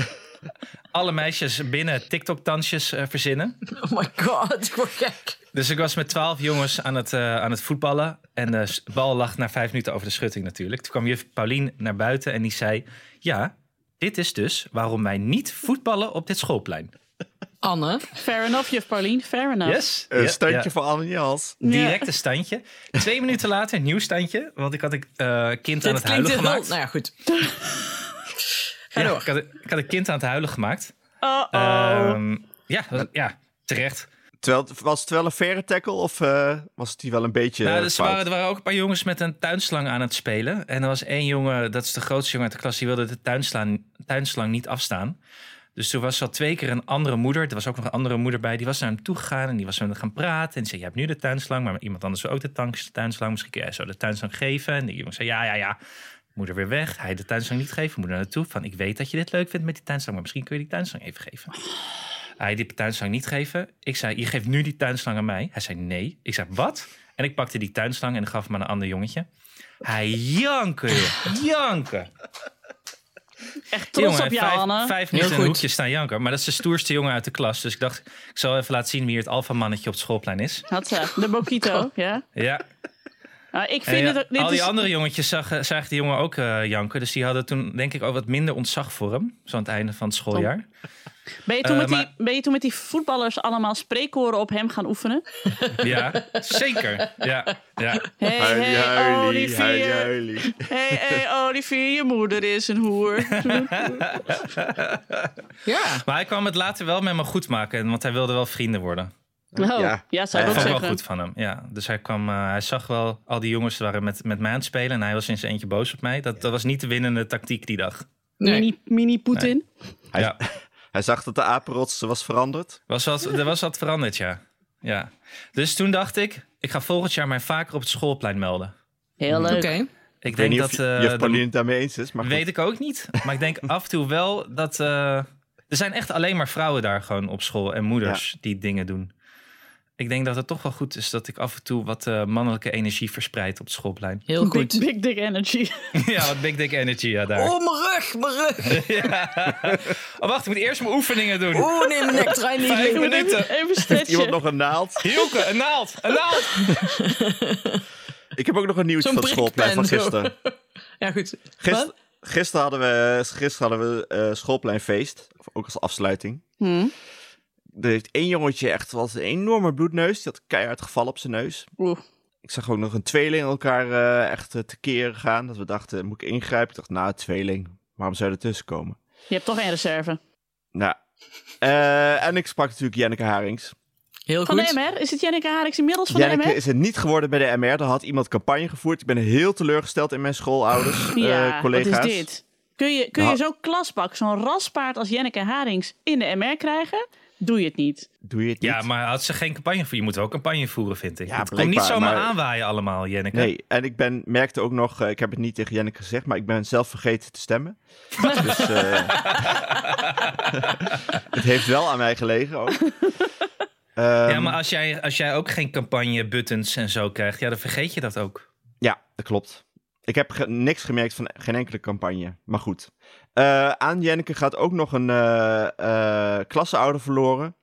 Speaker 3: Alle meisjes binnen TikTok-dansjes eh, verzinnen.
Speaker 5: Oh my god, ik word gek.
Speaker 3: Dus ik was met twaalf jongens aan het, eh, aan het voetballen. En de s- bal lag na vijf minuten over de schutting natuurlijk. Toen kwam juf Paulien naar buiten en die zei... Ja, dit is dus waarom wij niet voetballen op dit schoolplein.
Speaker 5: Anne.
Speaker 2: Fair enough, juf Paulien. Fair enough.
Speaker 3: Yes?
Speaker 4: Een
Speaker 3: Ja,
Speaker 4: Eh, standje
Speaker 3: ja.
Speaker 4: voor Anne Jans.
Speaker 3: Direct een standje. Twee minuten later, een nieuw standje. Want ik had een eh, kind aan het
Speaker 5: Dit klinkt
Speaker 3: huilen
Speaker 5: heel... Nou
Speaker 3: gemaakt.
Speaker 5: ja, goed.
Speaker 3: Ja, ik, had, een- ik had een kind aan het huilen gemaakt.
Speaker 2: Oh, oh.
Speaker 3: Ehm, ja, dat- ja, terecht.
Speaker 4: Terwijl, het- was het wel een verre tackle of eh, was het die wel een beetje
Speaker 3: Nou,
Speaker 4: eh,
Speaker 3: dus er,
Speaker 4: fout?
Speaker 3: waren, er waren ook een paar jongens met een tuinslang aan het spelen. En er was één jongen, dat is de grootste jongen uit de klas, die wilde de tuinslang, tuinslang niet afstaan. Dus toen was al twee keer een andere moeder, er was ook nog een andere moeder bij, die was naar hem toe gegaan en die was met hem gaan praten. En die zei, je hebt nu de tuinslang, maar iemand anders wil ook de tanks- tuinslang. Misschien kun jij zo de tuinslang geven. En die jongen zei, ja, ja, ja. Moeder weer weg, hij de tuinslang niet geven, moeder naartoe. Van, ik weet dat je dit leuk vindt met die tuinslang, maar misschien kun je die tuinslang even geven. Hij die tuinslang niet geven. Ik zei, je geeft nu die tuinslang aan mij. Hij zei, nee. Ik zei, wat? En ik pakte die tuinslang en gaf hem aan een ander jongetje. Hij janken, joh. Janken.
Speaker 2: Echt trots
Speaker 3: Jongen,
Speaker 2: op jou,
Speaker 3: vijf,
Speaker 2: Anne.
Speaker 3: Vijf minuten in
Speaker 5: goed.
Speaker 3: een hoekje staan janken. Maar dat is de stoerste jongen uit de klas. Dus ik dacht, ik zal even laten zien wie hier het alfamannetje op het schoolplein is.
Speaker 2: Had ze. De Bokito, ja.
Speaker 3: Ja.
Speaker 2: Nou, ik
Speaker 3: En
Speaker 2: vind
Speaker 3: ja,
Speaker 2: het... Dit
Speaker 3: al die
Speaker 2: is,
Speaker 3: andere jongetjes zagen, zagen die jongen ook eh, janken. Dus die hadden toen denk ik ook wat minder ontzag voor hem. Zo aan het einde van het schooljaar.
Speaker 2: Oh. ben, je toen
Speaker 3: eh,
Speaker 2: met die,
Speaker 3: maar-
Speaker 2: ben je toen met die voetballers allemaal spreekkoren op hem gaan oefenen?
Speaker 3: Ja, zeker. Ja, ja.
Speaker 2: Hey, hey,
Speaker 4: Huilie, huilie, huilie,
Speaker 2: Olivier.
Speaker 4: huilie.
Speaker 2: Hey, hey, Olivier, je moeder is een hoer.
Speaker 5: Ja.
Speaker 3: Maar hij kwam het later wel met me goed maken. Want hij wilde wel vrienden worden.
Speaker 2: Oh, ja,
Speaker 4: Ja.
Speaker 2: zou ik
Speaker 4: Ja,
Speaker 2: ook
Speaker 3: vond ik
Speaker 2: zeggen.
Speaker 3: wel goed van hem. Ja. Dus hij kwam, eh, hij zag wel, al die jongens waren met, met mij aan het spelen. En hij was in zijn eentje boos op mij. Dat, dat was niet de winnende tactiek die dag.
Speaker 5: Nee.
Speaker 2: Mini, mini Poetin.
Speaker 4: Hij-
Speaker 3: Ja.
Speaker 4: Hij zag dat de apenrots was veranderd.
Speaker 3: Was wat, er was wat veranderd, ja. ja. Dus toen dacht ik, ik ga volgend jaar mij vaker op het schoolplein melden.
Speaker 2: Heel leuk.
Speaker 5: Oké.
Speaker 3: Ik
Speaker 4: Ik weet
Speaker 3: denk
Speaker 4: niet
Speaker 3: dat.
Speaker 4: of
Speaker 3: eh,
Speaker 4: je
Speaker 3: de-
Speaker 4: Pauline het daarmee eens is, maar goed.
Speaker 3: weet ik ook niet. Maar ik denk af en toe wel dat. eh, er zijn echt alleen maar vrouwen daar gewoon op school en moeders die dingen doen. Ik denk dat het toch wel goed is dat ik af en toe wat eh, mannelijke energie verspreid op het schoolplein.
Speaker 5: Heel
Speaker 2: Big,
Speaker 5: goed.
Speaker 2: big dick energy.
Speaker 3: ja, wat big dick energy ja, daar.
Speaker 5: Oh, mijn rug, mijn rug.
Speaker 3: Oh, wacht, ik moet eerst mijn oefeningen doen.
Speaker 5: Oh, nee, mijn nek draait niet
Speaker 3: Vijf
Speaker 5: leuk.
Speaker 3: minuten.
Speaker 2: Even
Speaker 4: Heeft iemand
Speaker 2: stretchen.
Speaker 4: nog een naald?
Speaker 3: Hielke, een naald, een naald.
Speaker 4: Ik heb ook nog een nieuwtje
Speaker 5: Zo'n
Speaker 4: van het schoolplein van
Speaker 5: prikpen, zo.
Speaker 4: gisteren.
Speaker 5: Ja, goed.
Speaker 4: Gister-
Speaker 5: Wat?
Speaker 4: gisteren hadden we, gisteren hadden we eh, schoolpleinfeest. Ook als afsluiting.
Speaker 2: Hm.
Speaker 4: Er heeft één jongetje echt was een enorme bloedneus. Die had keihard gevallen op zijn neus.
Speaker 2: Oeh.
Speaker 4: Ik zag ook nog een tweeling elkaar eh, echt eh, tekeer gaan. Dat we dachten, moet ik ingrijpen? Ik dacht, nou, tweeling. Waarom zou je ertussen komen?
Speaker 2: Je hebt toch een reserve.
Speaker 4: Nou, eh, en ik sprak natuurlijk Janneke Harings.
Speaker 5: Heel
Speaker 2: Van de
Speaker 5: goed.
Speaker 2: MR? Is het Janneke Harix inmiddels van de
Speaker 4: Janneke
Speaker 2: MR?
Speaker 4: is het niet geworden bij de MR. Daar had iemand campagne gevoerd. Ik ben heel teleurgesteld in mijn schoolouders, eh, collega's.
Speaker 2: wat is dit? Kun je, kun je
Speaker 4: Nou.
Speaker 2: zo'n klasbak, zo'n raspaard als Janneke Harings in de MR krijgen? Doe je het niet.
Speaker 4: Doe je het niet?
Speaker 3: Ja, maar had ze geen campagne voeren? Je moet wel campagne voeren, vind ik.
Speaker 4: Ja,
Speaker 3: het komt niet
Speaker 4: blijkbaar,
Speaker 3: zomaar
Speaker 4: maar-
Speaker 3: aanwaaien allemaal, Jenneke.
Speaker 4: Nee, en ik ben, merkte ook nog, eh, ik heb het niet tegen Jenneke gezegd, maar ik ben zelf vergeten te stemmen. dus eh, het heeft wel aan mij gelegen ook.
Speaker 3: Ja,
Speaker 4: Ehm,
Speaker 3: maar als jij, als jij ook geen campagne-buttons en zo krijgt, ja, dan vergeet je dat ook.
Speaker 4: Ja, dat klopt. Ik heb ge- niks gemerkt van geen enkele campagne. Maar goed. Eh, aan Jenneke gaat ook nog een eh eh klasseouder verloren.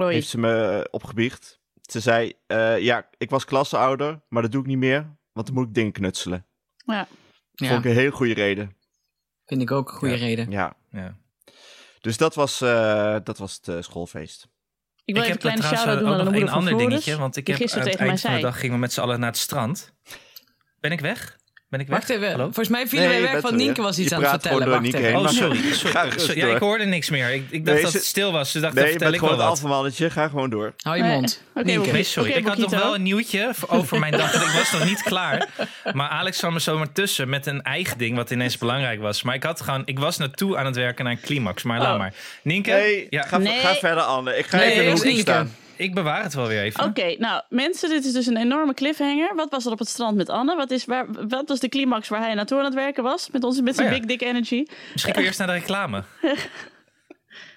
Speaker 2: Oei.
Speaker 4: Heeft ze me eh, opgebiecht. Ze zei, eh, ja, ik was klasseouder, maar dat doe ik niet meer. Want dan moet ik dingen knutselen.
Speaker 2: Ja.
Speaker 5: Ja,
Speaker 4: Vond ik een heel goede reden.
Speaker 5: vind ik ook een goede
Speaker 3: Ja.
Speaker 5: reden.
Speaker 4: Ja.
Speaker 3: Ja.
Speaker 4: Dus dat was, eh, dat was het eh, schoolfeest.
Speaker 2: Ik wil even een
Speaker 3: heb daar
Speaker 2: kleine
Speaker 3: trouwens eh,
Speaker 2: shout-out doen aan
Speaker 3: ook
Speaker 2: de
Speaker 3: nog
Speaker 2: moeder
Speaker 3: een
Speaker 2: van
Speaker 3: ander
Speaker 2: Floris,
Speaker 3: dingetje. Want ik
Speaker 2: die
Speaker 3: heb aan
Speaker 2: gisteren
Speaker 3: het
Speaker 2: tegen mij
Speaker 3: eind van de
Speaker 2: zei.
Speaker 3: dag gingen we met z'n allen naar het strand. Ben ik weg? Ben ik weg?
Speaker 5: Wacht even.
Speaker 3: Hallo?
Speaker 5: Volgens mij
Speaker 4: Nee,
Speaker 5: vielen wij
Speaker 4: je
Speaker 5: weg,
Speaker 4: bent
Speaker 5: want
Speaker 4: er weer.
Speaker 5: Nienke was iets
Speaker 4: Je
Speaker 5: aan het
Speaker 4: praat gewoon
Speaker 5: vertellen.
Speaker 4: door
Speaker 5: Wacht
Speaker 4: Nienke
Speaker 3: Oh,
Speaker 4: heen.
Speaker 5: even.
Speaker 4: maar-
Speaker 3: sorry. sorry,
Speaker 4: rustig
Speaker 3: sorry. Ja,
Speaker 4: door.
Speaker 3: ik hoorde niks meer. Ik, ik dacht
Speaker 4: Nee,
Speaker 3: dat
Speaker 4: ze-
Speaker 3: het stil was. Dus ik dacht,
Speaker 4: nee,
Speaker 3: dat
Speaker 4: je
Speaker 3: vertel
Speaker 4: bent
Speaker 3: ik
Speaker 4: gewoon
Speaker 3: wel
Speaker 4: het
Speaker 3: wat.
Speaker 4: alfamannetje. Ga gewoon door.
Speaker 5: Hou je
Speaker 2: Nee.
Speaker 5: mond.
Speaker 2: Oké,
Speaker 5: Nienke.
Speaker 2: Boekie.
Speaker 3: Nee, sorry.
Speaker 2: Oké,
Speaker 3: ik had nog
Speaker 2: Bokito.
Speaker 3: wel een nieuwtje voor- over mijn dag. want ik was nog niet klaar. Maar Alex kwam er zomaar tussen met een eigen ding wat ineens belangrijk was. Maar ik had gewoon, ik was naartoe aan het werken naar een climax. Maar laat
Speaker 2: Oh.
Speaker 3: maar. Nienke,
Speaker 4: Nee,
Speaker 3: ja,
Speaker 4: ga,
Speaker 2: Nee.
Speaker 4: ga verder, Anne. Ik ga
Speaker 5: Nee,
Speaker 4: even in de
Speaker 5: eerst
Speaker 4: hoek
Speaker 5: Nienke.
Speaker 4: staan.
Speaker 3: ik bewaar het wel weer even.
Speaker 2: Oké, nou mensen, dit is dus een enorme cliffhanger. Wat was er op het strand met Anne? Wat, is, waar, wat was de climax waar hij naartoe aan het werken was? Met, ons, met zijn
Speaker 3: Oh ja.
Speaker 2: big dick energy.
Speaker 3: Misschien kun je eerst naar de reclame.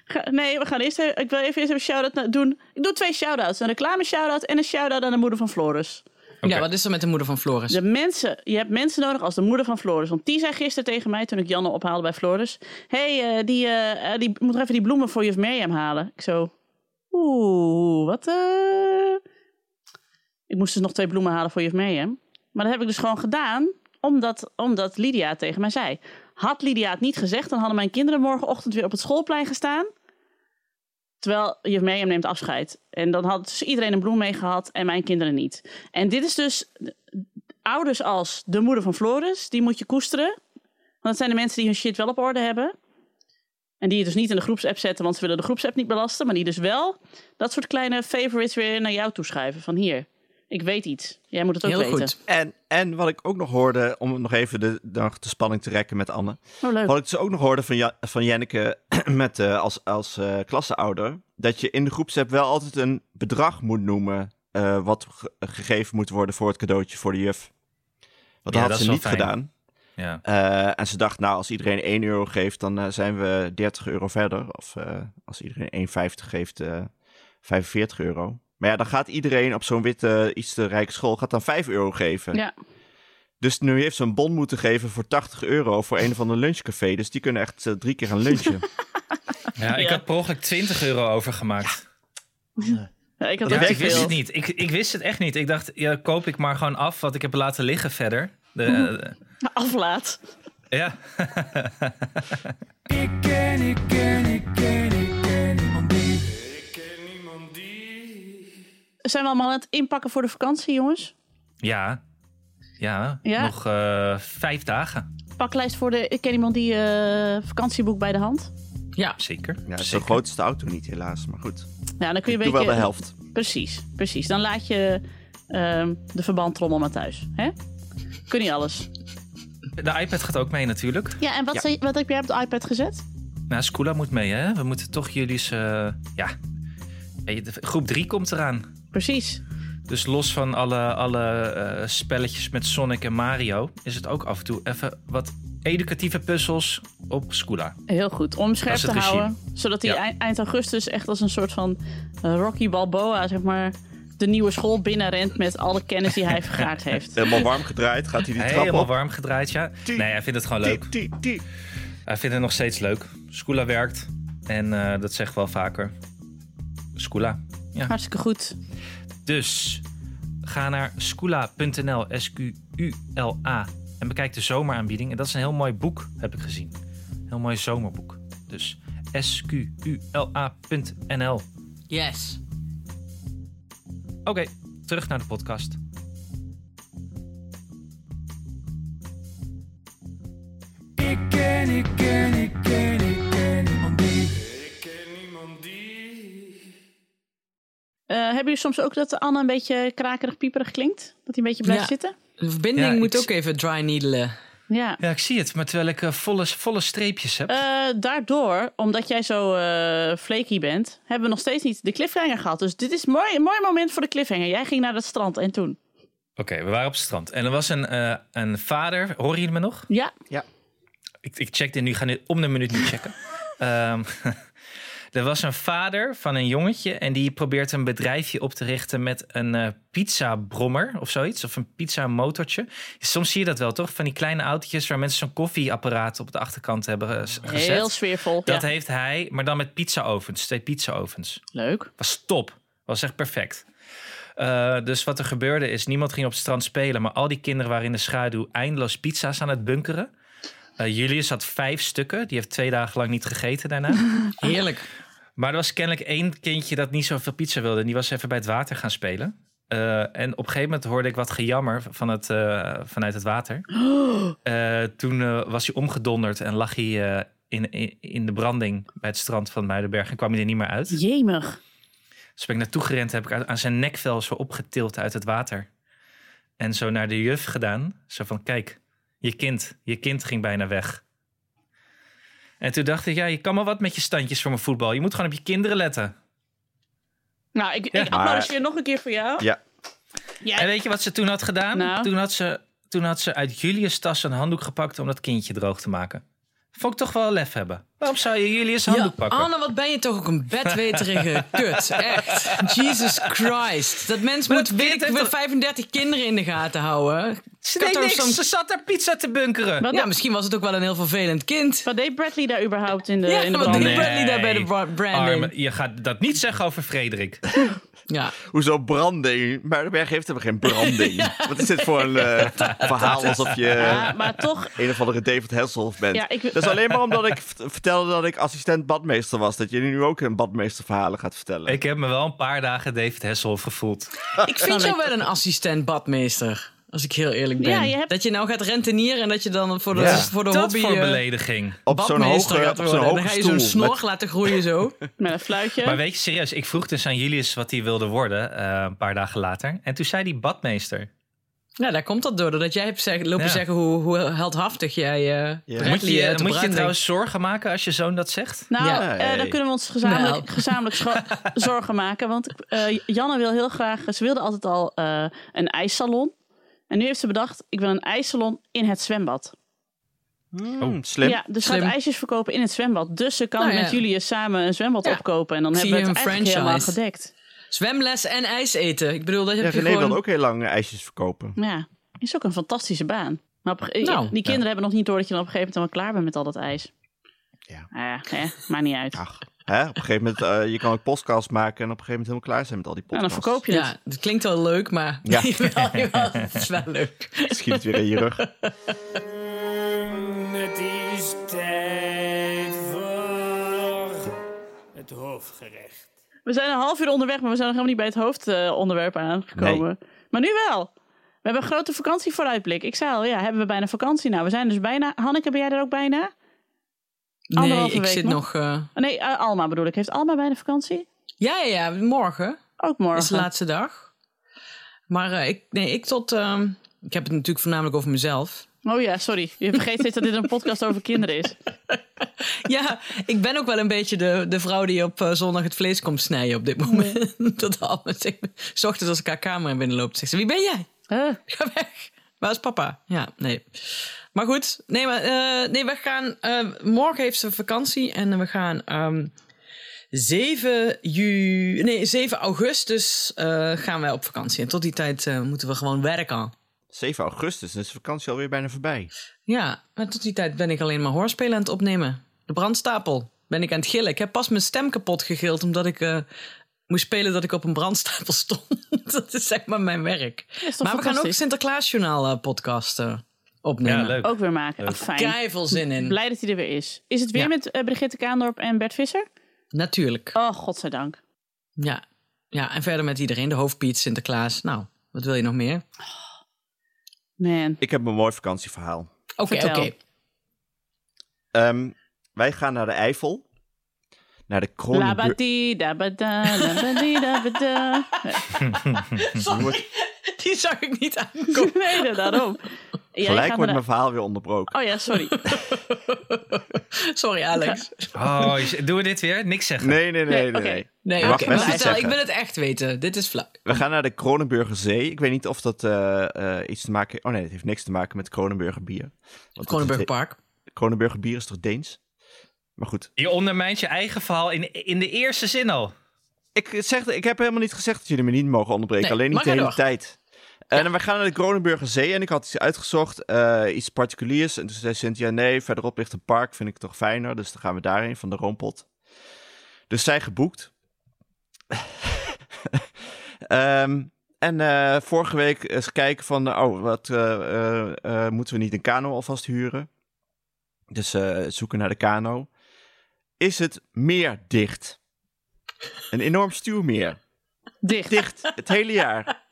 Speaker 2: Ga- nee, we gaan eerst even, ik wil even eerst een shout-out na- doen. Ik doe twee shout-outs. Een reclame shout-out en een shout-out aan de moeder van Floris.
Speaker 5: Ja, wat is er met de moeder van Floris?
Speaker 2: De mensen, je hebt mensen nodig als de moeder van Floris. Want die zei gisteren tegen mij, toen ik Janne ophaalde bij Floris... Hé, hey, eh, die, eh, eh, die moet nog even die bloemen voor juf Mirjam halen. Ik zo, oeh, wat... eh?" Ik moest dus nog twee bloemen halen voor juf Mirjam. Maar dat heb ik dus gewoon gedaan, omdat, omdat Lydia het tegen mij zei. Had Lydia het niet gezegd, dan hadden mijn kinderen morgenochtend weer op het schoolplein gestaan... Terwijl juf Mirjam neemt afscheid. En dan had dus iedereen een bloem mee gehad en mijn kinderen niet. En dit is dus ouders als de moeder van Floris, die moet je koesteren. Want dat zijn de mensen die hun shit wel op orde hebben. En die je dus niet in de groepsapp zetten, want ze willen de groepsapp niet belasten. Maar die dus wel dat soort kleine favorites weer naar jou toeschrijven. Van hier, ik weet iets. Jij moet het ook
Speaker 5: Heel
Speaker 2: weten.
Speaker 5: goed.
Speaker 4: En, en wat ik ook nog hoorde, om nog even de, nog de spanning te rekken met Anne.
Speaker 2: Oh, leuk.
Speaker 4: Wat ik dus ook nog hoorde van, ja, van Jenneke met, eh, als, als eh klasseouder, dat je in de groepsapp wel altijd een bedrag moet noemen eh, wat ge- gegeven moet worden voor het cadeautje voor de juf. Want dat
Speaker 3: Ja,
Speaker 4: had
Speaker 3: dat is
Speaker 4: ze
Speaker 3: wel
Speaker 4: niet
Speaker 3: fijn.
Speaker 4: gedaan.
Speaker 3: Ja.
Speaker 4: Eh, en ze dacht, nou, als iedereen 1 euro geeft, dan eh, zijn we 30 euro verder. Of eh, als iedereen 1,50 geeft, eh 45 euro. Maar ja, dan gaat iedereen op zo'n witte, iets te rijke school, gaat dan 5 euro geven.
Speaker 2: Ja.
Speaker 4: Dus nu heeft ze een bon moeten geven voor 80 euro voor een of ander lunchcafé. Dus die kunnen echt eh, drie keer gaan lunchen.
Speaker 3: ja, ik
Speaker 2: Ja.
Speaker 3: had per ongeluk 20 euro overgemaakt.
Speaker 2: Ja, ik had
Speaker 3: Ja,
Speaker 2: ook te
Speaker 3: ik wist
Speaker 2: veel.
Speaker 3: het niet. Ik, ik wist het echt niet. Ik dacht, ja, koop ik maar gewoon af wat ik heb laten liggen verder. De,
Speaker 2: Mhm.
Speaker 3: eh,
Speaker 2: Aflaat.
Speaker 3: ja.
Speaker 6: Ik ken, ik ken, ik ken, ik ken niemand die. Ik ken niemand die.
Speaker 2: Zijn we allemaal aan het inpakken voor de vakantie, jongens?
Speaker 3: ja. Ja.
Speaker 2: Ja.
Speaker 3: Nog eh, vijf dagen.
Speaker 2: Paklijst voor de... Ik ken iemand die eh, vakantieboek bij de hand.
Speaker 5: Ja,
Speaker 3: Zeker.
Speaker 4: Ja, zo
Speaker 3: Zeker.
Speaker 4: groot is de auto niet helaas, maar goed.
Speaker 2: Ja, dan kun je
Speaker 4: Ik
Speaker 2: een
Speaker 4: doe
Speaker 2: beetje...
Speaker 4: wel de helft.
Speaker 2: Precies, precies. Dan laat je ehm, de verbandtrommel maar thuis. Hè? Kun niet alles.
Speaker 3: De iPad gaat ook mee natuurlijk.
Speaker 2: Ja, en wat,
Speaker 4: Ja.
Speaker 2: zei- wat heb jij op de iPad gezet?
Speaker 3: Nou, Skoola moet mee, hè? We moeten toch jullie... ze- eh, ja. Ja, je- de- Groep 3 komt eraan.
Speaker 2: Precies.
Speaker 3: Dus los van alle, alle eh, spelletjes met Sonic en Mario... is het ook af en toe even wat educatieve puzzels op Skoola.
Speaker 2: Heel goed. Om hem scherp
Speaker 3: Dat is
Speaker 2: te
Speaker 3: het regime.
Speaker 2: houden. Zodat hij
Speaker 3: Ja.
Speaker 2: eind, eind augustus echt als een soort van eh, Rocky Balboa, zeg maar, de nieuwe school binnenrent met alle kennis die hij vergaard heeft.
Speaker 4: Helemaal warm gedraaid, gaat hij die trap
Speaker 3: Helemaal
Speaker 4: op.
Speaker 3: warm gedraaid, ja.
Speaker 4: Tien.
Speaker 3: Nee, hij vindt het gewoon
Speaker 4: Tie,
Speaker 3: leuk.
Speaker 4: tie, tie.
Speaker 3: Hij vindt het nog steeds leuk. Skoola werkt. En eh, dat zeg ik wel vaker. Skoola.
Speaker 2: Hartstikke goed.
Speaker 3: Dus ga naar skoola.nl, S-Q-U-L-A. En bekijk de zomeraanbieding. En dat is een heel mooi boek, heb ik gezien. Heel mooi zomerboek. Dus S-Q-U-L-A.nl. Oké,
Speaker 5: yes.
Speaker 3: terug naar de podcast.
Speaker 6: Ik ken, ik ken, ik ken, ik ken niemand die. Ik ken niemand die.
Speaker 2: Eh, hebben jullie soms ook dat Anne een beetje krakerig, pieperig klinkt? Dat hij een beetje blijft
Speaker 5: Ja.
Speaker 2: zitten?
Speaker 5: De verbinding
Speaker 3: Ja,
Speaker 5: moet
Speaker 3: ik-
Speaker 5: ook even dry needelen.
Speaker 2: Ja.
Speaker 3: Ja, ik zie het. Maar terwijl ik eh, volle, volle streepjes heb.
Speaker 2: Eh, daardoor, omdat jij zo eh flaky bent, hebben we nog steeds niet de cliffhanger gehad. Dus dit is een mooi, een mooi moment voor de cliffhanger. Jij ging naar het strand en toen.
Speaker 3: Oké, we waren op het strand. En er was een, eh, een vader. Horen jullie me nog?
Speaker 2: Ja,
Speaker 3: Ik, ik check dit nu, ik ga nu om de minuut niet checken. Ehm, er was een vader van een jongetje en die probeert een bedrijfje op te richten met een eh pizza brommer of zoiets. Of een pizza motortje. Soms zie je dat wel toch? Van die kleine autootjes waar mensen zo'n koffieapparaat op de achterkant hebben eh, s- gezet.
Speaker 2: heel sfeervol.
Speaker 3: dat
Speaker 2: ja.
Speaker 3: heeft hij, maar dan met pizzaovens. Twee pizzaovens.
Speaker 2: Leuk.
Speaker 3: Was top. Was echt perfect. Eh, dus wat er gebeurde is, niemand ging op het strand spelen, maar al die kinderen waren in de schaduw eindeloos pizza's aan het bunkeren. Eh, Julius had vijf stukken, die heeft twee dagen lang niet gegeten daarna.
Speaker 5: Heerlijk.
Speaker 3: maar er was kennelijk één kindje dat niet zoveel pizza wilde en die was even bij het water gaan spelen. Eh, en op een gegeven moment hoorde ik wat gejammer van het, eh, vanuit het water. Eh, toen eh, was hij omgedonderd en lag hij eh, in, in, in de branding bij het strand van Muidenberg en kwam hij er niet meer uit.
Speaker 2: Jemig.
Speaker 3: Dus ben ik naartoe gerend, heb ik aan- aan zijn nekvel zo opgetild uit het water. En zo naar de juf gedaan. Zo van, kijk, je kind, je kind ging bijna weg. En toen dacht ik, ja, je kan maar wat met je standjes voor mijn voetbal. Je moet gewoon op je kinderen letten.
Speaker 2: Nou, ik, ik
Speaker 4: maar-
Speaker 2: applaudisseer nog een keer voor jou.
Speaker 4: Ja,
Speaker 2: Jij-
Speaker 3: En weet je wat ze toen had gedaan?
Speaker 2: Nou.
Speaker 3: Toen, had ze, toen had ze uit Julius' tas een handdoek gepakt om dat kindje droog te maken. Vond ik toch wel lef hebben. Waarom zou je Julius' handdoek
Speaker 5: Ja,
Speaker 3: pakken?
Speaker 5: Anne, wat ben je toch ook een bedweterige kut. Echt. Jesus Christ. Dat mens moet
Speaker 3: dat kind
Speaker 5: weet ik
Speaker 3: heeft
Speaker 5: wel,
Speaker 3: toch-
Speaker 5: 35 kinderen in de gaten houden.
Speaker 3: Ze
Speaker 5: Cut
Speaker 3: deed
Speaker 5: haar
Speaker 3: niks,
Speaker 5: soms-
Speaker 3: ze zat daar pizza te bunkeren.
Speaker 2: Wat,
Speaker 5: Ja, misschien was het ook wel een heel vervelend kind.
Speaker 2: wat deed Bradley daar überhaupt in de,
Speaker 5: Ja,
Speaker 2: in de
Speaker 5: wat deed
Speaker 2: brand?
Speaker 5: Bradley? daar bij de bra- branding.
Speaker 3: Arme- je gaat dat niet zeggen over Frederik.
Speaker 5: Ja.
Speaker 4: hoezo branding? Muidenberg heeft helemaal geen branding. Wat is dit voor een eh, verhaal alsof je...
Speaker 2: Ja, maar toch,
Speaker 4: een of andere David Hasselhoff bent.
Speaker 2: Ja, ik-
Speaker 4: Dat is alleen maar omdat ik v- vertelde dat ik assistent badmeester was. Dat jullie nu ook een badmeesterverhalen gaat vertellen.
Speaker 3: Ik heb me wel een paar dagen David Hessel gevoeld.
Speaker 5: Ik vind jou wel een assistent badmeester. Als ik heel eerlijk ben.
Speaker 2: Ja, je hebt-
Speaker 5: Dat je nou gaat rentenieren en Oh, dat je dan voor de,
Speaker 4: Ja.
Speaker 5: voor de
Speaker 3: Dat
Speaker 5: hobby...
Speaker 3: voor
Speaker 5: eh,
Speaker 3: belediging.
Speaker 4: Op zo'n
Speaker 5: badmeester
Speaker 4: hoge,
Speaker 5: gaat
Speaker 4: op zo'n
Speaker 5: worden. En
Speaker 4: hoge
Speaker 5: Dan ga je
Speaker 4: stoel.
Speaker 5: zo'n snor
Speaker 4: met-
Speaker 5: laten groeien zo.
Speaker 2: Met een fluitje.
Speaker 3: Maar weet je, serieus, ik vroeg dus aan Julius wat hij wilde worden eh, een paar dagen later. En toen zei hij badmeester.
Speaker 5: Ja, daar komt dat door. Doordat jij hebt zeggen, lopen
Speaker 3: Ja.
Speaker 5: zeggen hoe, hoe heldhaftig jij eh
Speaker 4: Ja.
Speaker 5: Bradley
Speaker 3: Moet je,
Speaker 5: eh,
Speaker 3: eh,
Speaker 5: te
Speaker 3: moet je
Speaker 5: braad
Speaker 3: trouwens zorgen maken als je zoon dat zegt?
Speaker 2: Nou,
Speaker 5: Ja.
Speaker 2: eh, dan kunnen we ons gezamenlijk,
Speaker 5: Nou.
Speaker 2: gezamenlijk scho- zorgen maken. Want eh, Janne wil heel graag, ze wilde altijd al eh, een ijssalon. En nu heeft ze bedacht, ik wil een ijssalon in het zwembad.
Speaker 4: Mm, slim.
Speaker 2: Ja, dus ze gaat
Speaker 5: Slim.
Speaker 2: ijsjes verkopen in het zwembad. Dus ze kan
Speaker 5: Nou ja.
Speaker 2: met jullie samen een zwembad
Speaker 5: Ja.
Speaker 2: opkopen. En dan
Speaker 5: Zie
Speaker 2: hebben we
Speaker 5: je
Speaker 2: het
Speaker 5: een
Speaker 2: eigenlijk helemaal
Speaker 5: franchise.
Speaker 2: gedekt.
Speaker 5: denkt. Zwemles en ijs eten. Ik bedoel, dat
Speaker 4: Ja,
Speaker 5: heb je
Speaker 4: René
Speaker 5: gewoon...
Speaker 4: wilde ook heel lang eh, ijsjes verkopen.
Speaker 2: Ja, is ook een fantastische baan. Maar op, eh,
Speaker 5: Nou,
Speaker 2: die kinderen hebben nog niet door dat je dan op een gegeven moment wel klaar bent met al dat ijs.
Speaker 4: Ja.
Speaker 2: Nou ja, hè, maakt niet uit. Nou,
Speaker 4: Ach, hè? op een gegeven moment, eh, je kan ook podcasts maken en op een gegeven moment helemaal klaar zijn met al die
Speaker 2: nou, dan
Speaker 4: podcasts.
Speaker 2: verkoop je het.
Speaker 5: Ja, dat klinkt wel leuk, maar...
Speaker 4: Ja.
Speaker 5: jawel, jawel, het is wel leuk.
Speaker 4: Schiet het weer in je rug.
Speaker 6: Het is tijd voor het hoofdgerecht.
Speaker 2: We zijn een half uur onderweg, maar we zijn nog helemaal niet bij het hoofdonderwerp aangekomen. Maar nu wel. We hebben een grote vakantie vooruitblik. Ik zei al, ja, hebben we bijna vakantie nou? We zijn dus bijna. Hanneke, ben jij er ook bijna?
Speaker 5: Nee,
Speaker 2: Anderhalve
Speaker 5: ik
Speaker 2: week
Speaker 5: zit
Speaker 2: nog.
Speaker 5: nog... eh,
Speaker 2: Oh, Nee, eh, Alma bedoel ik. Heeft Alma bijna vakantie?
Speaker 5: ja, ja, ja, morgen.
Speaker 2: Ook morgen.
Speaker 5: is de laatste dag. Maar eh, ik, nee, ik tot... ehm, ik heb het natuurlijk voornamelijk over mezelf.
Speaker 2: Oh ja, sorry. Je vergeet steeds dat dit een podcast over kinderen is.
Speaker 5: Ja, ik ben ook wel een beetje de, de vrouw die op eh, zondag het vlees komt snijden op dit moment. Dat allemaal tegen me. 's ochtends als ik haar kamer in binnenloop, zegt ze, wie ben jij?
Speaker 2: Huh?
Speaker 5: Ga weg. Waar is papa? Ja, nee. Maar goed, nee, maar, eh, nee we gaan... eh, morgen heeft ze vakantie en we gaan... ehm 7, ju nee, 7 augustus eh, gaan wij op vakantie. En tot die tijd eh, moeten we gewoon werken.
Speaker 4: 7 augustus, dan is de vakantie alweer bijna voorbij.
Speaker 5: Ja, maar tot die tijd ben ik alleen maar hoorspelen aan het opnemen. De brandstapel ben ik aan het gillen. Ik heb pas mijn stem kapot gegild omdat ik eh, moest spelen dat ik op een brandstapel stond. dat is zeg maar mijn werk.
Speaker 2: Is toch
Speaker 5: Maar we gaan ook
Speaker 2: fantastisch?
Speaker 5: Sinterklaasjournaal eh, podcast eh, opnemen.
Speaker 3: Ja, leuk.
Speaker 2: ook weer maken. Ach, fijn.
Speaker 5: Kei veel zin in.
Speaker 2: Blij dat hij er weer is. Is het weer
Speaker 5: Ja.
Speaker 2: met eh, Brigitte Kaandorp en Bert Visser?
Speaker 5: Natuurlijk.
Speaker 2: Oh, godzijdank.
Speaker 5: Ja. ja, en verder met iedereen. De hoofdpiet, Sinterklaas. Nou, wat wil je nog meer?
Speaker 2: Man.
Speaker 4: Ik heb een mooi vakantieverhaal.
Speaker 5: Oké,
Speaker 2: Vertel.
Speaker 5: oké.
Speaker 4: Ehm, wij gaan naar de Eifel. Naar de Kronenburg.
Speaker 2: Labadi, dabada, labadi, dabada.
Speaker 5: Sorry, Die zag ik niet aankomen.
Speaker 2: Nee, daarom. Jij
Speaker 4: Gelijk
Speaker 2: gaat naar
Speaker 4: wordt mijn
Speaker 2: de-
Speaker 4: verhaal weer onderbroken.
Speaker 2: Oh ja, sorry.
Speaker 5: Sorry, Alex.
Speaker 3: Oh, is- doen we dit weer? Niks zeggen.
Speaker 4: Nee, nee, nee, nee.
Speaker 2: oké.
Speaker 4: nee.
Speaker 5: Nee,
Speaker 4: Je mag
Speaker 5: oké. maar
Speaker 4: best iets
Speaker 5: vertel, ik
Speaker 4: zeggen.
Speaker 5: wil het echt weten. Dit is flauw.
Speaker 4: We gaan naar de Kronenburger Zee. Ik weet niet of dat eh, eh, iets te maken... Oh nee, het heeft niks te maken met Kronenburger bier. Want
Speaker 5: Kronenburg
Speaker 4: het-
Speaker 5: Park.
Speaker 4: Kronenburger bier is toch Deens? Maar goed.
Speaker 3: Je ondermijnt je eigen verhaal in, in de eerste zin al.
Speaker 4: Ik, zeg, ik heb helemaal niet gezegd dat jullie me niet mogen onderbreken.
Speaker 5: Nee,
Speaker 4: alleen
Speaker 5: maar
Speaker 4: niet de
Speaker 5: ga
Speaker 4: hele
Speaker 5: door.
Speaker 4: tijd. Eh, En we gaan naar de Kronenburger Zee. En ik had iets uitgezocht. eh, iets particuliers. En toen zei Cynthia, nee, verderop ligt een park. Vind ik toch fijner. Dus dan gaan we daarheen, van de Roompot. Dus zij geboekt. Ehm, en eh, vorige week eens kijken van... Oh, wat eh, eh, eh, moeten we niet een kano alvast huren? Dus eh, zoeken naar de kano. Is het meer dicht? Een enorm stuwmeer
Speaker 2: Dicht.
Speaker 4: dicht het hele jaar.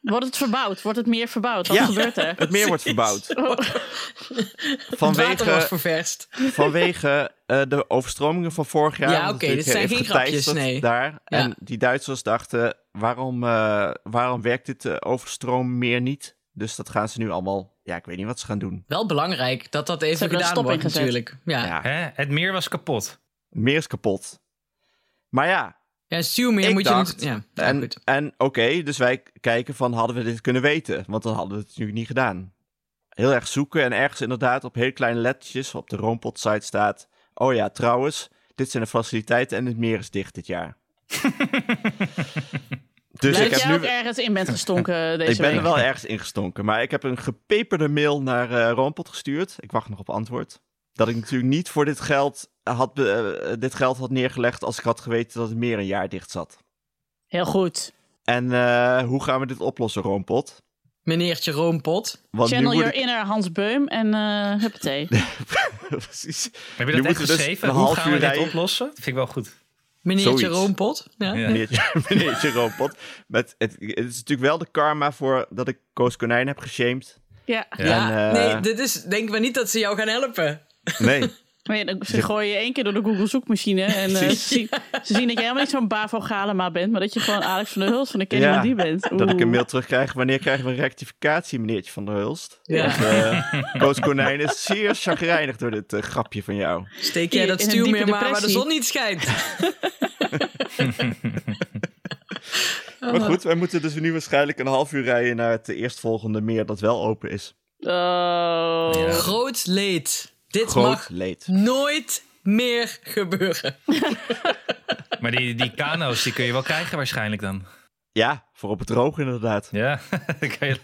Speaker 2: Wordt het verbouwd? Wordt het meer verbouwd? Wat
Speaker 4: Ja.
Speaker 2: gebeurt er?
Speaker 4: Het meer wordt verbouwd.
Speaker 5: Het water was
Speaker 4: Vanwege,
Speaker 5: ververst.
Speaker 4: vanwege eh, de overstromingen van vorig jaar.
Speaker 5: Ja,
Speaker 4: want het
Speaker 5: oké, dit
Speaker 4: natuurlijk
Speaker 5: zijn
Speaker 4: heeft
Speaker 5: geen grapjes,
Speaker 4: geteisterd
Speaker 5: nee.
Speaker 4: Daar.
Speaker 5: Ja.
Speaker 4: En die Duitsers dachten, waarom, eh, waarom werkt dit eh, overstroom meer niet? Dus dat gaan ze nu allemaal, ja, ik weet niet wat ze gaan doen.
Speaker 5: Wel belangrijk dat dat
Speaker 2: Ze
Speaker 5: even
Speaker 2: hebben
Speaker 5: gedaan
Speaker 2: een stop
Speaker 5: wordt
Speaker 2: ingezet.
Speaker 5: natuurlijk. Ja. ja.
Speaker 4: Ja,
Speaker 3: Hè? Het meer was kapot.
Speaker 4: meer is kapot. Maar ja,
Speaker 5: stuwmeer
Speaker 4: Ik
Speaker 5: moet
Speaker 4: dacht-
Speaker 5: je... Ja, ja,
Speaker 4: En,
Speaker 5: goed.
Speaker 4: en oké, dus wij kijken van hadden we dit kunnen weten? Want dan hadden we het natuurlijk niet gedaan. Heel erg zoeken en ergens inderdaad op heel kleine lettertjes op de Roompot site staat. Oh ja, trouwens, dit zijn de faciliteiten en het meer is dicht dit jaar. dus
Speaker 2: Dus
Speaker 4: ik
Speaker 2: dat
Speaker 4: heb
Speaker 2: jij ook
Speaker 4: nu.
Speaker 2: ergens in bent gestonken deze
Speaker 4: Ik ben
Speaker 2: week.
Speaker 4: er wel ergens ingestonken, maar ik heb een gepeperde mail naar eh Roompot gestuurd. Ik wacht nog op antwoord. Dat ik natuurlijk niet voor dit geld had, be- eh, dit geld had neergelegd als ik had geweten dat het meer een jaar dicht zat.
Speaker 2: Heel goed.
Speaker 4: En eh, hoe gaan we dit oplossen, Roompot?
Speaker 5: Meneertje Roompot.
Speaker 4: Want
Speaker 2: Channel
Speaker 4: nu moet
Speaker 2: your inner Hans Beum en eh huppatee.
Speaker 4: ik... Precies.
Speaker 3: Heb
Speaker 4: Nu
Speaker 3: je dat echt
Speaker 4: moeten we dus
Speaker 3: geschreven?
Speaker 4: een
Speaker 3: Hoe
Speaker 4: half
Speaker 3: gaan we
Speaker 4: uur
Speaker 3: dit
Speaker 4: rijden.
Speaker 3: oplossen? Dat vind ik wel goed.
Speaker 5: Meneer
Speaker 4: Zoiets.
Speaker 5: Jeroompot. Ja.
Speaker 3: Ja.
Speaker 4: meneertje, meneertje Robot. Met het, het is natuurlijk wel de karma voor dat ik Koos Konijn heb geshamed.
Speaker 2: Ja.
Speaker 5: Ja,
Speaker 4: En, eh,
Speaker 5: nee, dit is, denk maar niet dat ze jou gaan helpen.
Speaker 4: Nee,
Speaker 2: Maar ja, dan- ze gooien je één keer door de Google zoekmachine. En eh,
Speaker 4: Precies.
Speaker 2: ze, zien, ze zien dat je helemaal niet zo'n Bavo Galema bent. Maar dat je gewoon Alex van der Huls van de Kenny
Speaker 4: Ja,
Speaker 2: die bent.
Speaker 4: dat ik een
Speaker 2: Oeh.
Speaker 4: mail terugkrijg. Wanneer krijgen we een rectificatie, meneertje van der Hulst?
Speaker 5: Ja.
Speaker 4: Want, eh, Koos Konijn is zeer chagrijnig door dit eh, grapje van jou.
Speaker 5: Steek jij
Speaker 2: In-
Speaker 5: dat
Speaker 2: in een
Speaker 5: stuur
Speaker 2: diepe
Speaker 5: meer maar waar de
Speaker 2: depressie.
Speaker 5: zon niet schijnt. Oh.
Speaker 4: Maar goed, wij moeten dus nu waarschijnlijk een half uur rijden naar het eerstvolgende meer dat wel open is.
Speaker 2: Oh.
Speaker 3: Ja.
Speaker 5: Groot leed. Dit
Speaker 4: Groot
Speaker 5: mag
Speaker 4: leed.
Speaker 5: nooit meer gebeuren.
Speaker 3: Maar die, die kano's, die kun je wel krijgen waarschijnlijk dan.
Speaker 4: Ja, voor op het droog inderdaad.
Speaker 3: Ja, dan kun je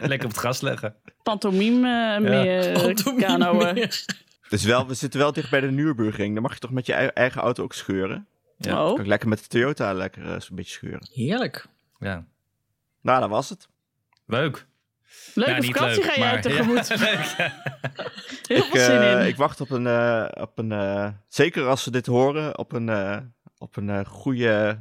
Speaker 3: lekker op het gas leggen.
Speaker 2: Pantomime eh, meer.
Speaker 5: Pantomime
Speaker 2: kanoën.
Speaker 5: meer.
Speaker 4: Dus wel, we zitten wel dicht bij de Nürburgring. Dan mag je toch met je ei- eigen auto ook scheuren?
Speaker 3: Ja.
Speaker 2: Oh.
Speaker 4: Kan ik lekker met de Toyota lekker eh, zo'n beetje scheuren.
Speaker 5: Heerlijk.
Speaker 3: Ja.
Speaker 4: Nou, dat was het.
Speaker 3: Leuk.
Speaker 2: Leuke
Speaker 3: Nou, niet
Speaker 2: vakantie
Speaker 3: leuk,
Speaker 2: ga jij
Speaker 3: maar-
Speaker 2: tegemoet. Heel
Speaker 4: Ik,
Speaker 2: veel zin
Speaker 4: eh,
Speaker 2: in.
Speaker 4: ik wacht op een, eh, op een eh, zeker als ze dit horen, op een, eh, op een eh, goede,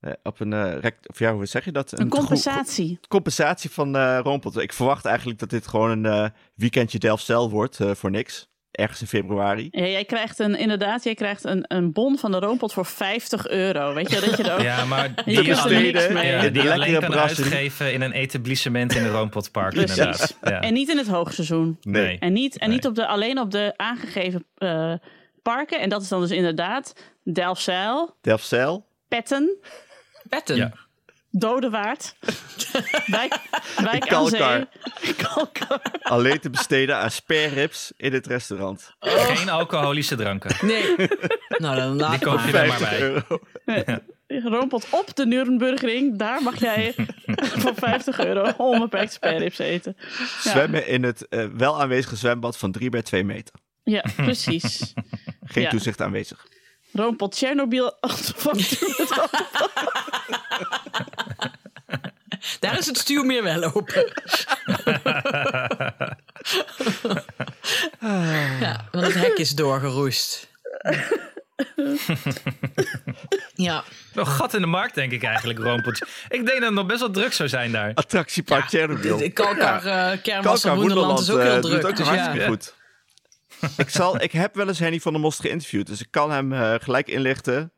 Speaker 4: eh, op een, eh, rect- of ja, hoe zeg je dat?
Speaker 2: een
Speaker 4: goe-
Speaker 2: compensatie.
Speaker 4: compensatie van eh Rompelt. Ik verwacht eigenlijk dat dit gewoon een eh, weekendje Delft-Cel wordt eh, voor niks. Ergens in februari.
Speaker 2: Ja, jij krijgt een, inderdaad, jij krijgt een, een bon van de Roompot voor 50 euro. Weet je dat je er ook...
Speaker 3: Ja, maar
Speaker 2: Je
Speaker 3: die,
Speaker 2: kunt er
Speaker 3: alleen,
Speaker 2: niks mee.
Speaker 3: ja,
Speaker 4: In de
Speaker 3: die alleen
Speaker 4: lekkere
Speaker 3: kan
Speaker 4: brasserie.
Speaker 3: uitgeven in een etablissement in een Roompotpark
Speaker 2: Precies.
Speaker 3: inderdaad. Ja.
Speaker 2: En niet in het hoogseizoen.
Speaker 3: Nee.
Speaker 2: En niet, en
Speaker 3: Nee.
Speaker 2: niet op de, alleen op de aangegeven eh, parken. En dat is dan dus inderdaad Delfzijl,
Speaker 4: Delft-Cel.
Speaker 2: Petten,
Speaker 5: Petten.
Speaker 3: Ja.
Speaker 2: Dodewaard, Wijk, Wijk aan
Speaker 4: Kalkar.
Speaker 2: Zee, Kalkar.
Speaker 4: Alleen te besteden aan spareribs in het restaurant.
Speaker 3: Geen alcoholische dranken.
Speaker 5: Nee. nou, dan laat
Speaker 3: Die
Speaker 5: ik
Speaker 3: koop
Speaker 5: maar.
Speaker 3: je er maar
Speaker 4: 50
Speaker 3: bij.
Speaker 4: euro.
Speaker 2: Roompot op de Nurembergring. Daar mag jij voor 50 euro onbeperkt sperrips eten.
Speaker 4: Zwemmen in het eh, wel aanwezige zwembad van 3 bij 2 meter.
Speaker 2: Ja, precies.
Speaker 4: Geen
Speaker 2: Ja.
Speaker 4: toezicht aanwezig.
Speaker 2: Roompot Tsjernobyl.
Speaker 5: Daar is het stuur meer wel open. ja, want het hek is doorgeroest. ja.
Speaker 3: Wel gat in de markt, denk ik eigenlijk, Roompot. Ik denk dat het nog best wel druk zou zijn daar.
Speaker 4: Attractiepark Chernobyl.
Speaker 5: De Kalkar, eh Kermis
Speaker 4: Kalkar
Speaker 5: van Woenderland is ook heel
Speaker 4: eh,
Speaker 5: druk.
Speaker 4: Doet ook
Speaker 5: dus ja.
Speaker 4: hartstikke goed. ik, zal, ik heb wel eens Henny van der Most geïnterviewd, dus ik kan hem eh, gelijk inlichten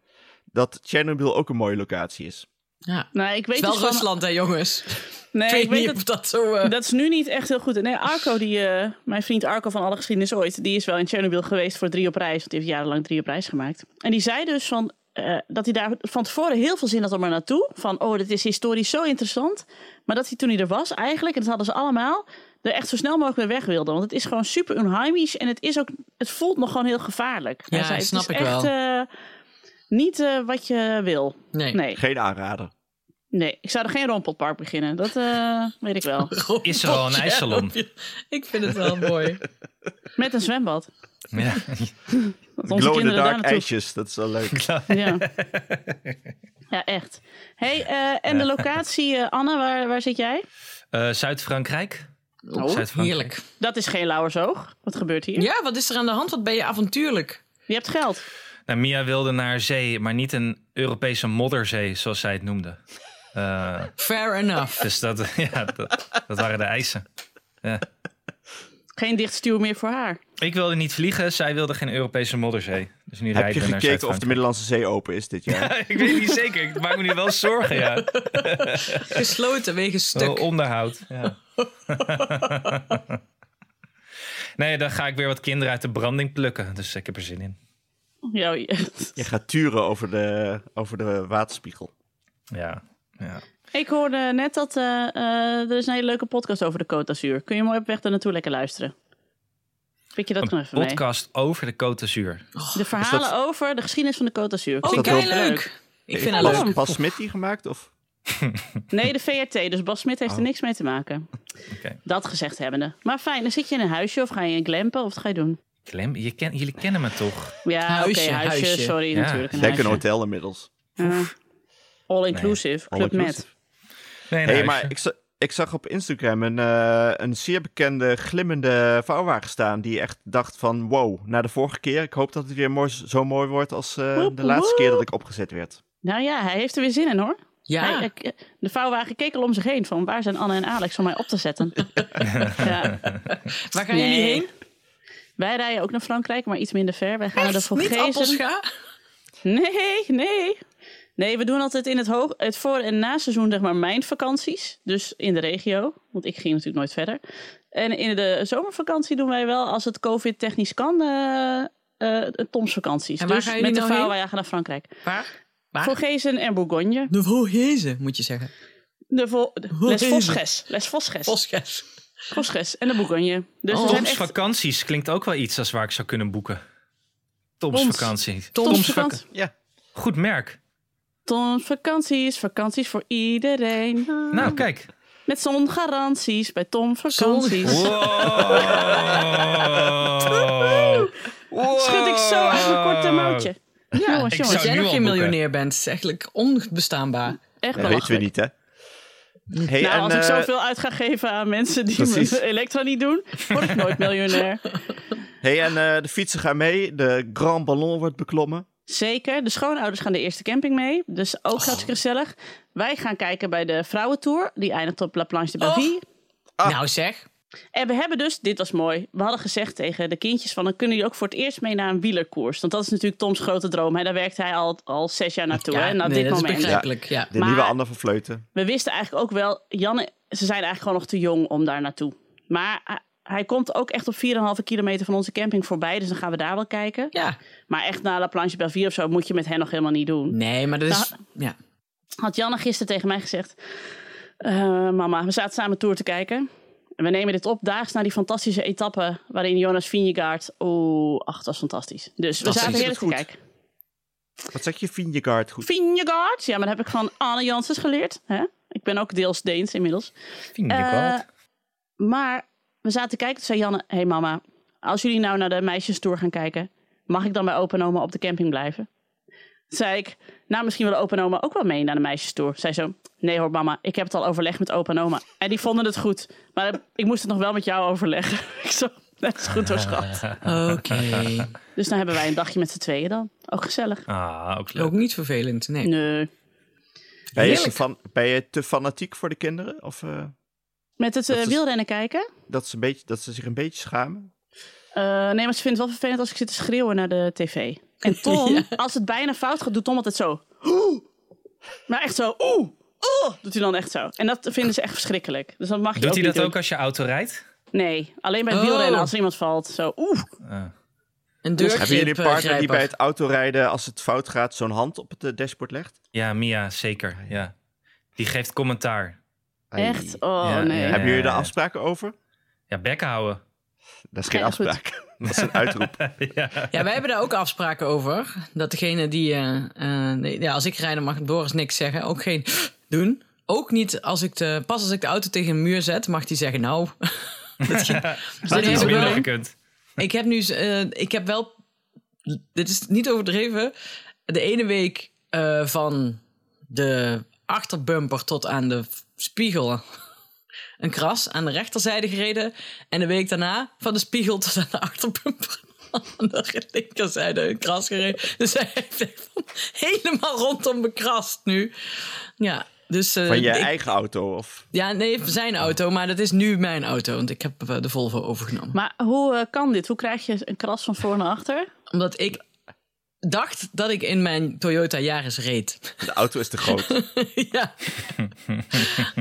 Speaker 4: dat Chernobyl ook een mooie locatie is.
Speaker 5: Ja.
Speaker 2: nou, ik weet
Speaker 5: Het is wel
Speaker 2: dus van-
Speaker 5: Rusland, hè, jongens.
Speaker 2: Nee,
Speaker 5: ik
Speaker 2: ik
Speaker 5: weet,
Speaker 2: weet
Speaker 5: niet
Speaker 2: het-
Speaker 5: of dat zo... eh,
Speaker 2: Dat is nu niet echt heel goed. Nee, Arco, die, eh, mijn vriend Arco van Alle Geschiedenis Ooit, die is wel in Tsjernobyl geweest voor drie op reis. Want die heeft jarenlang drie op reis gemaakt. En die zei dus van, eh, dat hij daar van tevoren heel veel zin had om er naartoe. Van, oh, dit is historisch zo interessant. Maar dat hij toen hij er was eigenlijk, en dat hadden ze allemaal, er echt zo snel mogelijk weer weg wilde. Want het is gewoon super onheimisch en het, is ook, het voelt nog gewoon heel gevaarlijk.
Speaker 5: Ja,
Speaker 2: Hij zei,
Speaker 5: snap
Speaker 2: het
Speaker 5: ik
Speaker 2: is echt,
Speaker 5: wel.
Speaker 2: eh, niet eh, wat je wil.
Speaker 5: nee.
Speaker 2: Nee.
Speaker 4: Geen aanrader.
Speaker 2: nee, ik zou er geen rompelpark beginnen. Dat eh, weet ik wel.
Speaker 3: Is er al een ijssalon?
Speaker 5: Ik vind het wel mooi.
Speaker 2: Met een zwembad.
Speaker 3: Ja.
Speaker 2: Dat onze
Speaker 4: Glow in the
Speaker 2: kinderen daar
Speaker 4: dark
Speaker 2: naartoe
Speaker 4: ijsjes, dat is wel leuk.
Speaker 2: Ja. ja, echt. Hey, eh, en de locatie, eh, Anne, waar, waar zit jij?
Speaker 3: Eh, Zuid-Frankrijk? Zuid-Frankrijk.
Speaker 5: Heerlijk.
Speaker 2: Dat is geen Lauwersoog. Wat gebeurt hier?
Speaker 5: Ja, wat is er aan de hand? Wat ben je avontuurlijk?
Speaker 2: Je hebt geld.
Speaker 3: Nou, Mia wilde naar zee, maar niet een Europese modderzee, zoals zij het noemde. Eh,
Speaker 5: Fair enough.
Speaker 3: dus dat, ja, dat, dat waren de eisen.
Speaker 2: Geen dichtstuw meer voor haar.
Speaker 3: Ik wilde niet vliegen, zij wilde geen Europese modderzee. Dus nu
Speaker 4: Heb je
Speaker 3: rijden we naar
Speaker 4: gekeken of
Speaker 3: Zuid-Frankrijk.
Speaker 4: de Middellandse Zee open is dit jaar?
Speaker 3: Ik weet niet zeker, ik maak me nu wel zorgen, ja.
Speaker 5: Gesloten wegens
Speaker 3: Wel
Speaker 5: stuk.
Speaker 3: onderhoud. Ja. nee, dan ga ik weer wat kinderen uit de branding plukken. Dus ik heb er zin in.
Speaker 2: Ja,
Speaker 4: Je gaat turen over de, over de waterspiegel.
Speaker 3: Ja. ja.
Speaker 2: ik hoorde net dat eh, eh, er is een hele leuke podcast over de Côte d'Azur. Kun je mooi op weg daar naartoe lekker luisteren? Pik je dat nog
Speaker 3: Een
Speaker 2: even mee?
Speaker 3: podcast over de Côte d'Azur.
Speaker 2: De verhalen over de geschiedenis van de Côte d'Azur.
Speaker 5: Oh,
Speaker 4: dat wel-
Speaker 5: leuk. Ik vind het
Speaker 4: Pas-
Speaker 5: leuk.
Speaker 4: Pas Smit die gemaakt? Of?
Speaker 2: Nee, de VRT. Dus Bas Smit heeft er niks mee te maken.
Speaker 3: Oh. Oké.
Speaker 2: Dat gezegd hebbende. Maar fijn, dan zit je in een huisje of ga je in glampen of wat ga je doen?
Speaker 3: Klem, je ken, jullie kennen me toch?
Speaker 2: Ja,
Speaker 5: Huisje,
Speaker 2: oké, huisje,
Speaker 5: huisje.
Speaker 2: sorry,
Speaker 3: Ja,
Speaker 2: natuurlijk. Een
Speaker 4: Lekker een
Speaker 2: huisje.
Speaker 4: hotel inmiddels.
Speaker 2: Ja. All inclusive,
Speaker 4: All
Speaker 2: Club Med.
Speaker 4: inclusive.
Speaker 3: Nee,
Speaker 4: Hé,
Speaker 3: nee.
Speaker 4: maar ik, za- ik zag op Instagram een, eh, een zeer bekende glimmende vouwwagen staan. Die echt dacht van wow, na de vorige keer. Ik hoop dat het weer mooi, zo mooi wordt als eh,
Speaker 2: Woep,
Speaker 4: de laatste
Speaker 2: woep.
Speaker 4: keer dat ik opgezet werd.
Speaker 2: Nou ja, hij heeft er weer zin in hoor.
Speaker 5: Ja,
Speaker 2: Hij- ik- de vouwwagen keek al om zich heen van waar zijn Anne en Alex om mij op te zetten. ja.
Speaker 5: waar gaan
Speaker 2: Nee.
Speaker 5: jullie heen?
Speaker 2: Wij rijden ook naar Frankrijk, maar iets minder ver. Wij gaan naar de
Speaker 5: Niet
Speaker 2: Vogezen.
Speaker 5: appelscha?
Speaker 2: Nee, nee. Nee, we doen altijd in het, hoog, het voor- en naseizoen, zeg maar, mijn vakanties. Dus in de regio, want ik ging natuurlijk nooit verder. En in de zomervakantie doen wij wel, als het COVID-technisch kan, eh eh Toms vakanties.
Speaker 5: En waar
Speaker 2: dus
Speaker 5: gaan jullie
Speaker 2: met de
Speaker 5: nou heen? Ah.
Speaker 2: vrouwenwagen naar Frankrijk.
Speaker 5: Waar? Waar?
Speaker 2: Voor Gezen en Bourgogne.
Speaker 5: De Vogezen, moet je zeggen.
Speaker 2: De vo- de-
Speaker 5: Hoe
Speaker 2: Les
Speaker 5: heet
Speaker 2: Vosges. Les Vosges.
Speaker 5: Bosges.
Speaker 2: Vosges en de Bourgogne. Dus
Speaker 5: Oh.
Speaker 2: we zijn
Speaker 3: Toms
Speaker 2: echt
Speaker 3: vakanties klinkt ook wel iets als waar ik zou kunnen boeken. Toms,
Speaker 2: Toms.
Speaker 3: vakantie.
Speaker 5: Toms
Speaker 2: Toms
Speaker 3: vak-
Speaker 2: vakantie.
Speaker 3: Goed merk.
Speaker 2: Toms vakanties, vakanties voor iedereen.
Speaker 3: Nou, kijk.
Speaker 2: Met zongaranties bij Tom vakanties.
Speaker 3: Wow.
Speaker 2: Schud ik zo uit mijn korte mouwtje. Ja,
Speaker 5: Als
Speaker 2: jongens,
Speaker 3: ik
Speaker 2: jongens.
Speaker 5: jij
Speaker 3: zou nu
Speaker 5: nog
Speaker 3: al
Speaker 5: geen
Speaker 3: boeken.
Speaker 5: miljonair bent, is eigenlijk onbestaanbaar.
Speaker 2: Echt
Speaker 4: Dat weten we
Speaker 2: belachelijk.
Speaker 4: niet, hè? Hey,
Speaker 2: Nou,
Speaker 4: en,
Speaker 2: als ik
Speaker 4: eh,
Speaker 2: zoveel uit ga geven aan mensen die
Speaker 4: Precies.
Speaker 2: mijn elektra niet doen, word ik nooit miljonair.
Speaker 4: hey, en eh, de fietsen gaan mee. De Grand Ballon wordt beklommen.
Speaker 2: Zeker. De schoonouders gaan de eerste camping mee. Dus ook
Speaker 5: Oh.
Speaker 2: hartstikke gezellig. Wij gaan kijken bij de vrouwentour. Die eindigt op La Planche de Bavie.
Speaker 5: Nou zeg.
Speaker 2: En we hebben dus, dit was mooi, we hadden gezegd tegen de kindjes van... dan kunnen jullie ook voor het eerst mee naar een wielerkoers. Want dat is natuurlijk Toms grote droom. Hè? Daar werkt hij al, al zes jaar naartoe.
Speaker 5: ja,
Speaker 2: hè? Naar
Speaker 5: nee,
Speaker 2: dit
Speaker 5: dat
Speaker 2: moment.
Speaker 5: is begrijpelijk. Ja.
Speaker 4: De
Speaker 2: Maar-
Speaker 4: nieuwe Anne van Vleuten.
Speaker 2: We wisten eigenlijk ook wel, Janne, ze zijn eigenlijk gewoon nog te jong om daar naartoe. Maar hij- hij komt ook echt op 4,5 kilometer van onze camping voorbij. Dus dan gaan we daar wel kijken.
Speaker 5: ja.
Speaker 2: Maar echt naar La Planche Belleville of zo moet je met hen nog helemaal niet doen
Speaker 5: Nee, maar dat is...
Speaker 2: Nou-
Speaker 5: Ja.
Speaker 2: had Janne gisteren tegen mij gezegd: "Eh, Mama, we zaten samen Tour te kijken. En we nemen dit op daags na die fantastische etappe. waarin Jonas Vingegaard. Oeh, ach, dat was fantastisch. Dus we
Speaker 5: Dat
Speaker 2: zaten
Speaker 5: is
Speaker 2: heerlijk te
Speaker 4: goed.
Speaker 2: kijken.
Speaker 4: Wat zeg je, Vingegaard? Goed.
Speaker 2: Vingegaard, ja, maar dat heb ik van Anne Janssens geleerd. Hè? Ik ben ook deels Deens inmiddels. Eh, maar we zaten te kijken. Toen zei Janne: Hé hey mama, als jullie nou naar de meisjestoer gaan kijken, mag ik dan bij opa en oma op de camping blijven? Toen zei ik: Nou, misschien wil opa en oma ook wel mee naar de meisjestoer. Zei zo: Nee hoor, mama, ik heb het al overlegd met opa en oma. En die vonden het goed. Maar ik moest het nog wel met jou overleggen. ik zo. Dat is goed hoor, schat.
Speaker 5: Oké.
Speaker 2: Dus dan hebben wij een dagje met z'n tweeën dan. Ook gezellig.
Speaker 3: Ah, ook leuk.
Speaker 5: Ook niet vervelend, nee.
Speaker 2: Nee.
Speaker 4: Ben je,
Speaker 5: Heerlijk.
Speaker 4: fan- ben je te fanatiek voor de kinderen? Of eh,
Speaker 2: Met het eh,
Speaker 4: Dat is-
Speaker 2: wielrennen kijken?
Speaker 4: dat, ze een beetje, dat ze zich een beetje schamen?
Speaker 2: Eh, nee, maar ze vindt het wel vervelend als ik zit te schreeuwen naar de tv. En Tom, als het bijna fout gaat, doet Tom altijd zo. "Oeh." Maar echt zo, oeh, oeh, doet hij dan echt zo. En dat vinden ze echt verschrikkelijk. Dus dat mag je
Speaker 3: Doet hij
Speaker 2: ook
Speaker 3: dat
Speaker 2: niet
Speaker 3: ook als je auto rijdt?
Speaker 2: doen. Nee, alleen bij
Speaker 5: Oh.
Speaker 2: wielrennen als er iemand valt. Zo, oeh.
Speaker 3: Ah.
Speaker 5: Een deurgrip
Speaker 4: Hebben jullie een
Speaker 5: eh,
Speaker 4: partner die
Speaker 5: grijper.
Speaker 4: bij het autorijden, als het fout gaat, zo'n hand op het eh, dashboard legt?
Speaker 3: Ja, Mia, zeker. Ja. Die geeft commentaar.
Speaker 4: Ai.
Speaker 2: Echt? Oh,
Speaker 3: Ja,
Speaker 2: nee.
Speaker 3: ja, ja.
Speaker 4: Hebben jullie daar afspraken over?
Speaker 3: Ja, bekken houden.
Speaker 4: Dat is geen
Speaker 2: Ja, goed.
Speaker 4: afspraak. Dat is een uitroep.
Speaker 3: ja.
Speaker 5: Ja, wij hebben daar ook afspraken over. Dat degene die... eh, eh, nee, ja, als ik rijd, dan mag Doris niks zeggen. Ook geen doen. Ook niet als ik de... Pas als ik de auto tegen een muur zet, mag die zeggen nou.
Speaker 3: Had
Speaker 5: is
Speaker 3: iets
Speaker 5: ook wel-
Speaker 3: minder gekund.
Speaker 5: Ik heb nu, eh, ik heb wel, dit is niet overdreven. De ene week eh, van de achterbumper tot aan de v- spiegel een kras aan de rechterzijde gereden. En de week daarna van de spiegel tot aan de achterbumper aan de linkerzijde een kras gereden. Dus hij heeft echt van helemaal rondom bekrast nu. Ja, dus eh,
Speaker 4: Van je
Speaker 5: ik-
Speaker 4: eigen auto? Of...
Speaker 5: ja, nee, zijn auto, maar dat is nu mijn auto, want ik heb eh, de Volvo overgenomen.
Speaker 2: Maar hoe eh, kan dit? Hoe krijg je een kras van voor naar achter?
Speaker 5: Omdat ik dacht dat ik in mijn Toyota Yaris reed.
Speaker 4: De auto is te groot.
Speaker 5: ja.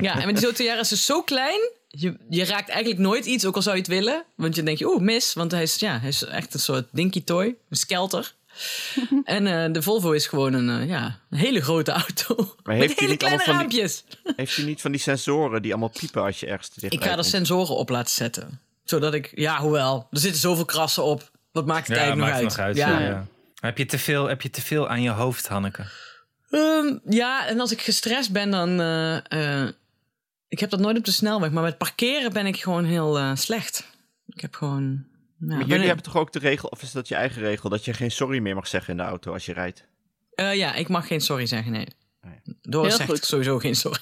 Speaker 5: ja, en met die Toyota Yaris is zo klein. Je, je raakt eigenlijk nooit iets, ook al zou je het willen. Want je denkt, oeh, mis. Want hij is, ja, hij is echt een soort dinky toy. Een skelter. en eh, de Volvo is gewoon een, eh, ja, een hele grote auto.
Speaker 4: Maar
Speaker 5: met
Speaker 4: heeft hij
Speaker 5: hele
Speaker 4: niet
Speaker 5: kleine
Speaker 4: allemaal van die-
Speaker 5: raampjes.
Speaker 4: Heeft u niet van die sensoren die allemaal piepen als je ergens te dicht
Speaker 5: Ik ga er
Speaker 4: komt?
Speaker 5: sensoren op laten zetten. Zodat ik, ja, hoewel. Er zitten zoveel krassen op. Wat maakt het
Speaker 3: Ja,
Speaker 5: eigenlijk
Speaker 3: maakt het
Speaker 5: nog uit?
Speaker 3: nog uit. ja, ja. Heb je te veel- heb je te veel aan je hoofd, Hanneke?
Speaker 5: Ehm, ja, en als ik gestrest ben, dan. eh, eh, ik heb dat nooit op de snelweg, maar met parkeren ben ik gewoon heel eh, slecht. Ik heb gewoon. ja,
Speaker 4: Maar
Speaker 5: ben
Speaker 4: jullie
Speaker 5: ik-
Speaker 4: hebben toch ook de regel, of is dat je eigen regel, dat je geen sorry meer mag zeggen in de auto als je rijdt?
Speaker 5: eh, ja, ik mag geen sorry zeggen, nee. Doris
Speaker 2: Heel
Speaker 5: zegt
Speaker 2: goed.
Speaker 5: sowieso geen sorry.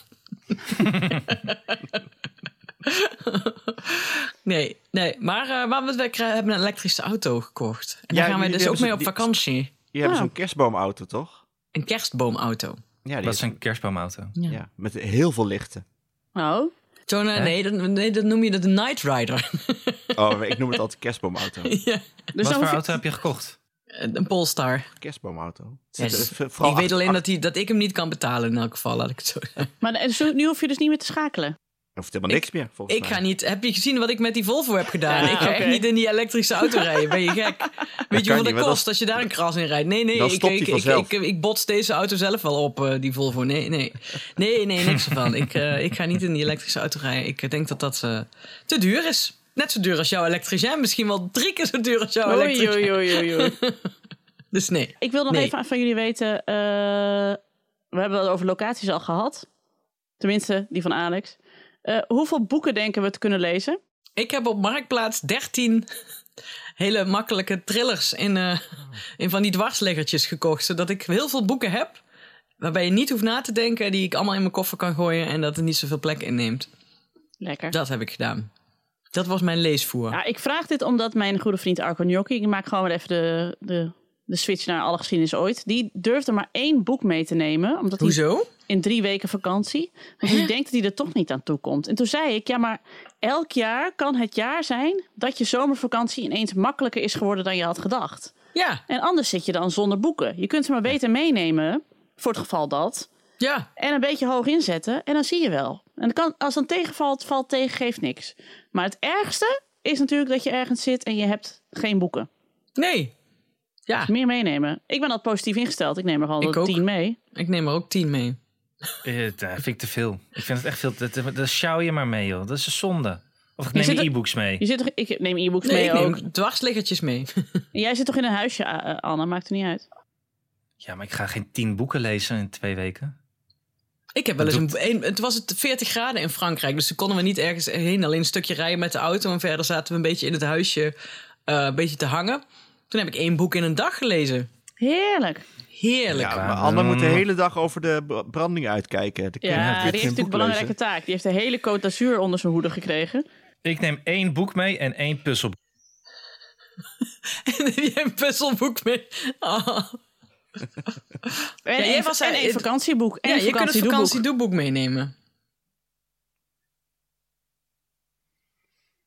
Speaker 5: Nee, nee. Maar, eh, maar we, we krij- hebben een elektrische auto gekocht. En
Speaker 4: Ja,
Speaker 5: daar gaan wij
Speaker 4: jullie
Speaker 5: dus ook
Speaker 4: hebben
Speaker 5: mee
Speaker 4: zo'n-
Speaker 5: op
Speaker 4: die-
Speaker 5: vakantie.
Speaker 4: Je hebt
Speaker 2: Ah.
Speaker 4: zo'n kerstboomauto, toch?
Speaker 5: Een kerstboomauto.
Speaker 4: Ja, die
Speaker 3: Dat is
Speaker 4: is-
Speaker 3: een kerstboomauto.
Speaker 4: ja, met heel veel lichten.
Speaker 2: Oh,
Speaker 5: Zo'n, eh, nee, dat, nee, dat noem je de Night Rider.
Speaker 4: Oh, ik noem het altijd kerstboomauto.
Speaker 5: ja.
Speaker 2: dus
Speaker 3: Wat
Speaker 2: dan
Speaker 3: voor
Speaker 2: hoef je-
Speaker 3: auto heb je gekocht?
Speaker 5: Een Polestar.
Speaker 4: Kerstboomauto.
Speaker 5: Ja,
Speaker 4: Zit er
Speaker 5: dus
Speaker 4: Eh, v-
Speaker 5: ik
Speaker 4: vooral
Speaker 5: weet
Speaker 4: achter-
Speaker 5: alleen dat, hij, dat ik hem niet kan betalen in elk geval, laat ik het zo zeggen.
Speaker 2: Maar eh, zo- nu hoef je dus niet meer te schakelen.
Speaker 4: Er hoeft helemaal niks meer, volgens
Speaker 5: Ik
Speaker 4: mij.
Speaker 5: ga niet... Heb je gezien wat ik met die Volvo heb gedaan?
Speaker 2: Ja,
Speaker 5: ik ga echt
Speaker 2: oké.
Speaker 5: niet in die elektrische auto rijden. Ben je gek? Weet je
Speaker 4: kan
Speaker 5: hoeveel
Speaker 4: niet,
Speaker 5: dat
Speaker 4: want
Speaker 5: kost
Speaker 4: dat-
Speaker 5: als je daar een kras in rijdt? Nee, nee.
Speaker 4: Dan
Speaker 5: ik,
Speaker 4: stopt hij
Speaker 5: ik, ik,
Speaker 4: vanzelf.
Speaker 5: ik, ik bots deze auto zelf wel op, eh, die Volvo. Nee, nee. Nee, nee, niks ervan. Ik, eh, ik ga niet in die elektrische auto rijden. Ik eh, denk dat dat eh, te duur is. Net zo duur als jouw elektricien. Misschien wel drie keer zo duur als jouw
Speaker 2: Oei,
Speaker 5: elektricien.
Speaker 2: oei, oei, oei, oei.
Speaker 5: Dus nee.
Speaker 2: Ik wil nog
Speaker 5: Nee.
Speaker 2: even van jullie weten. eh, we hebben het over locaties al gehad. Tenminste, die van Alex. Eh, hoeveel boeken denken we te kunnen lezen?
Speaker 5: Ik heb op Marktplaats 13 hele makkelijke thrillers in, eh, in van die dwarsliggertjes gekocht. Zodat ik heel veel boeken heb waarbij je niet hoeft na te denken. Die ik allemaal in mijn koffer kan gooien en dat er niet zoveel plek inneemt.
Speaker 2: Lekker.
Speaker 5: Dat heb ik gedaan. Dat was mijn leesvoer.
Speaker 2: Ja, ik vraag dit omdat mijn goede vriend Arco Gnocchi... ik maak gewoon weer even de, de, de switch naar alle geschiedenis ooit... die durfde maar één boek mee te nemen. Omdat hij
Speaker 5: Hoezo?
Speaker 2: in drie weken vakantie. Want ik denk dat hij er toch niet aan toe komt. En toen zei ik, ja, maar elk jaar kan het jaar zijn dat je zomervakantie ineens makkelijker is geworden dan je had gedacht.
Speaker 5: Ja,
Speaker 2: En anders zit je dan zonder boeken. Je kunt ze maar beter meenemen, voor het geval dat.
Speaker 5: ja.
Speaker 2: En een beetje hoog inzetten en dan zie je wel. En het kan, als dan tegenvalt, valt tegen, geeft niks. Maar het ergste is natuurlijk dat je ergens zit en je hebt geen boeken.
Speaker 5: Nee. Ja,
Speaker 2: Meer meenemen. Ik ben al positief ingesteld. Ik neem er
Speaker 5: Ik
Speaker 2: gewoon
Speaker 5: ook.
Speaker 2: tien mee.
Speaker 5: ik neem er ook tien mee.
Speaker 3: Eh, Dat vind ik te veel. Ik vind het echt veel. Dat, dat, dat sjouw je maar mee, joh. Dat is een zonde. Of ik
Speaker 2: Je
Speaker 3: neem
Speaker 2: zit
Speaker 3: je
Speaker 2: er-
Speaker 3: e-books mee.
Speaker 2: Je zit toch, ik neem e-books
Speaker 5: Nee,
Speaker 2: mee
Speaker 5: ik
Speaker 2: ook.
Speaker 5: neem dwarsliggertjes mee.
Speaker 2: Jij zit toch in een huisje, A- eh, Anne? Maakt het niet uit.
Speaker 3: Ja, maar ik ga geen tien boeken lezen in twee weken.
Speaker 5: Ik heb wel eens een, een- Het was het 40 graden in Frankrijk, dus toen konden we niet ergens heen. Alleen een stukje rijden met de auto en verder zaten we een beetje in het huisje eh, een beetje te hangen. Toen heb ik één boek in een dag gelezen.
Speaker 2: Heerlijk.
Speaker 5: Heerlijk.
Speaker 4: Ja,
Speaker 5: Ja,
Speaker 4: maar Anne moet de hele dag over de br- branding uitkijken. De
Speaker 2: Ja,
Speaker 4: kinderen kunnen
Speaker 2: die heeft
Speaker 4: geen
Speaker 2: natuurlijk een
Speaker 4: boek
Speaker 2: belangrijke
Speaker 4: lezen.
Speaker 2: taak. Die heeft de hele Côte d'Azur onder zijn hoede gekregen.
Speaker 3: Ik neem één boek mee en één puzzel.
Speaker 5: en heb jij een puzzelboek mee? Ah.
Speaker 2: En
Speaker 5: jij
Speaker 2: één-
Speaker 5: was-
Speaker 2: en één
Speaker 5: eh,
Speaker 2: vakantieboek. En
Speaker 5: Ja,
Speaker 2: een
Speaker 5: je kunt het
Speaker 2: vakantiedoeboek.
Speaker 5: vakantiedoeboek meenemen.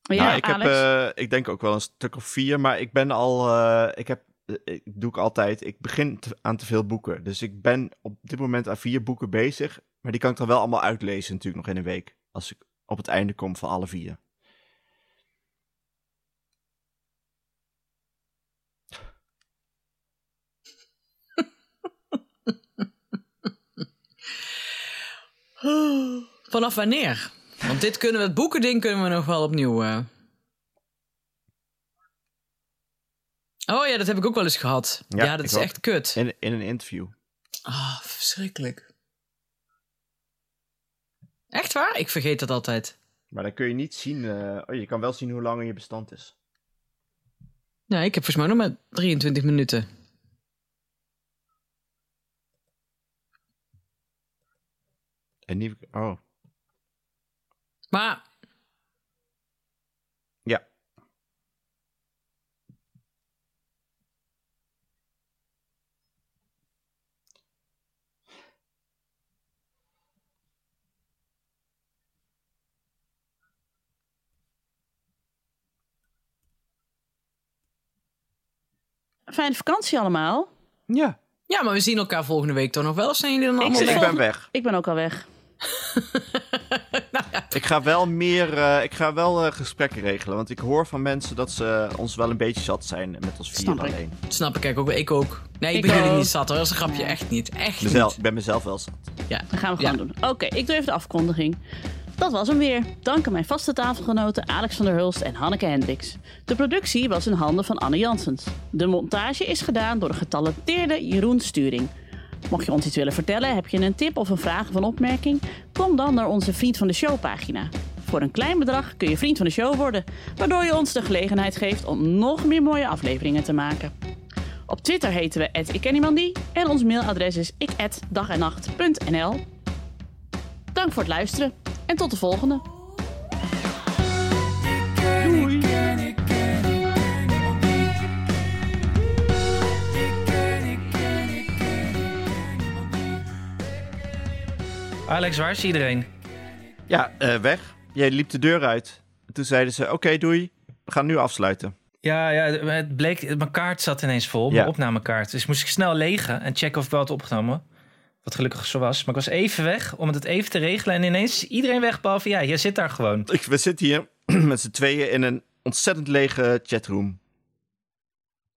Speaker 2: Ja,
Speaker 4: nou, ik, heb,
Speaker 2: Alex.
Speaker 4: eh, ik denk ook wel een stuk of vier, maar ik ben al. eh, ik heb, eh, ik doe ik altijd. Ik begin te- aan te veel boeken. Dus ik ben op dit moment aan vier boeken bezig. Maar die kan ik dan wel allemaal uitlezen, natuurlijk, nog in een week. Als ik op het einde kom van alle vier.
Speaker 5: Vanaf wanneer? Want dit kunnen we, het boekending kunnen we nog wel opnieuw. eh. Oh ja, dat heb ik ook wel eens gehad. Ja,
Speaker 4: Ja,
Speaker 5: dat
Speaker 4: ik
Speaker 5: is
Speaker 4: ook.
Speaker 5: echt kut.
Speaker 4: In, in een interview.
Speaker 5: Ah, verschrikkelijk. Echt waar? Ik vergeet dat altijd.
Speaker 4: Maar dan kun je niet zien. eh, oh, je kan wel zien hoe lang in je bestand is.
Speaker 5: Nou, ik heb volgens mij nog maar 23 minuten.
Speaker 4: En niet. Oh.
Speaker 5: Maar
Speaker 4: Ja.
Speaker 2: Fijne vakantie allemaal.
Speaker 4: Ja.
Speaker 5: ja, maar we zien elkaar volgende week toch nog wel? Of zijn jullie dan allemaal
Speaker 2: zit-
Speaker 4: Ik,
Speaker 5: weg?
Speaker 4: ben weg.
Speaker 2: Ik ben ook al weg.
Speaker 4: Ik ga wel meer. eh, ik ga wel eh, gesprekken regelen. Want ik hoor van mensen dat ze eh, ons wel een beetje zat zijn met ons vier
Speaker 2: Snap ik.
Speaker 4: alleen.
Speaker 5: Snap ik eigenlijk ook. Ik ook. Nee, ik,
Speaker 2: Ik
Speaker 5: ben jullie
Speaker 2: ook.
Speaker 5: niet zat hoor. Dat is een grapje. Echt niet. Echt
Speaker 4: Mezelf, ik ben mezelf wel zat.
Speaker 5: niet. Ja.
Speaker 2: Dat gaan we gewoon
Speaker 5: Ja.
Speaker 2: doen. Oké, ik doe even de afkondiging. Dat was hem weer. Dank aan mijn vaste tafelgenoten Alex van der Hulst en Hanneke Hendricks. De productie was in handen van Anne Janssens. De montage is gedaan door de getalenteerde Jeroen Sturing. Mocht je ons iets willen vertellen, heb je een tip of een vraag of een opmerking? Kom dan naar onze Vriend van de Show pagina. Voor een klein bedrag kun je Vriend van de Show worden, waardoor je ons de gelegenheid geeft om nog meer mooie afleveringen te maken. Op Twitter heten we @ikkenniemandie en ons mailadres is ik@dagennacht.nl. Dank voor het luisteren en tot de volgende.
Speaker 6: Ik ken
Speaker 3: Alex, waar is iedereen?
Speaker 4: Ja, eh, weg. Jij liep de deur uit. Toen zeiden ze, oké, doei. We gaan nu afsluiten.
Speaker 3: Ja, ja, het bleek, mijn kaart zat ineens vol, mijn
Speaker 4: Ja.
Speaker 3: opnamekaart. Dus moest ik snel legen en checken of ik wel had opgenomen. Wat gelukkig zo was. Maar ik was even weg om het even te regelen. En ineens is iedereen weg, behalve jij. Jij zit daar gewoon.
Speaker 4: Ik, we zitten hier met z'n tweeën in een ontzettend lege chatroom.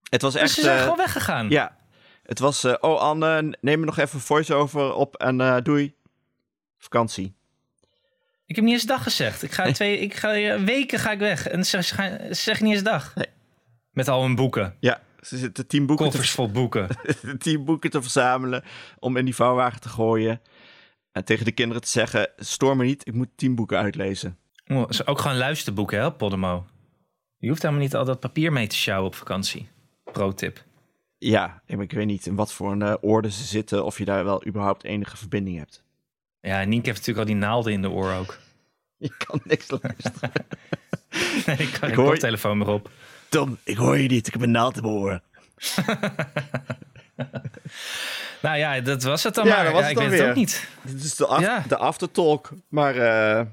Speaker 4: Het was
Speaker 3: Dus
Speaker 4: echt...
Speaker 3: ze zijn
Speaker 4: eh,
Speaker 3: gewoon weggegaan.
Speaker 4: Ja, het was... eh, oh, Anne, neem me nog even voice-over op en eh, doei. Vakantie.
Speaker 3: Ik heb niet eens dag gezegd. Ik ga twee, ik ga, eh, weken ga ik weg. En ze ze gaan- ze zeggen niet eens dag.
Speaker 4: Nee.
Speaker 3: Met al hun boeken.
Speaker 4: Ja, ze zitten tien boeken,
Speaker 3: Koffers
Speaker 4: te,
Speaker 3: vol boeken.
Speaker 4: tien boeken te verzamelen om in die vouwwagen te gooien. En tegen de kinderen te zeggen, stoor me niet, ik moet tien boeken uitlezen.
Speaker 3: Oh, ze- Ook gewoon luisterboeken, hè, op Podemo. Je hoeft helemaal niet al dat papier mee te sjouwen op vakantie. Pro-tip.
Speaker 4: Ja, ja, maar ik weet niet in wat voor een eh, orde ze zitten, of je daar wel überhaupt enige verbinding hebt.
Speaker 3: Ja, Nienke heeft natuurlijk al die naalden in de oor ook.
Speaker 4: Je kan niks luisteren.
Speaker 3: Nee, ik kan
Speaker 4: Ik
Speaker 3: ik
Speaker 4: hoor-
Speaker 3: hoor... telefoon meer op.
Speaker 4: Tom, ik hoor je niet, ik heb een naald in mijn oor.
Speaker 3: Nou ja, dat was het dan
Speaker 4: Ja,
Speaker 3: maar.
Speaker 4: dat was
Speaker 3: ja,
Speaker 4: het
Speaker 3: ik
Speaker 4: dan
Speaker 3: weet het ook
Speaker 4: weer.
Speaker 3: niet. Ik
Speaker 4: Dit is de, af-
Speaker 3: Ja.
Speaker 4: de aftertalk. Maar eh,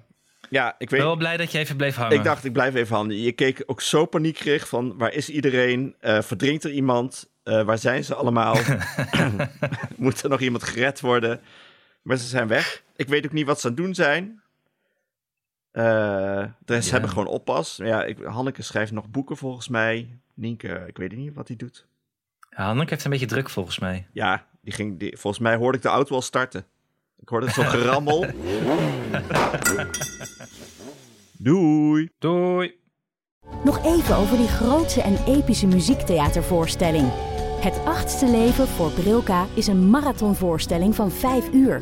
Speaker 4: ja,
Speaker 3: ben
Speaker 4: ik weet...
Speaker 3: wel blij dat je even bleef hangen.
Speaker 4: Ik dacht, ik blijf even handen. Je keek ook zo paniekerig van, waar is iedereen? Eh, verdrinkt er iemand? Eh, waar zijn ze allemaal? Moet er nog iemand gered worden? Maar ze zijn weg. Ik weet ook niet wat ze aan het doen zijn. Eh, de rest
Speaker 3: Ja.
Speaker 4: hebben gewoon oppas. Ja, ik, Hanneke schrijft nog boeken volgens mij. Nienke, ik weet niet wat hij doet.
Speaker 3: Ja, Hanneke heeft een beetje druk volgens mij.
Speaker 4: Ja, die ging, die, volgens mij hoorde ik de auto al starten. Ik hoorde zo'n gerammel. Doei.
Speaker 3: Doei.
Speaker 1: Nog even over die grootse en epische muziektheatervoorstelling. Het achtste leven voor Brilka is een marathonvoorstelling van 5 uur.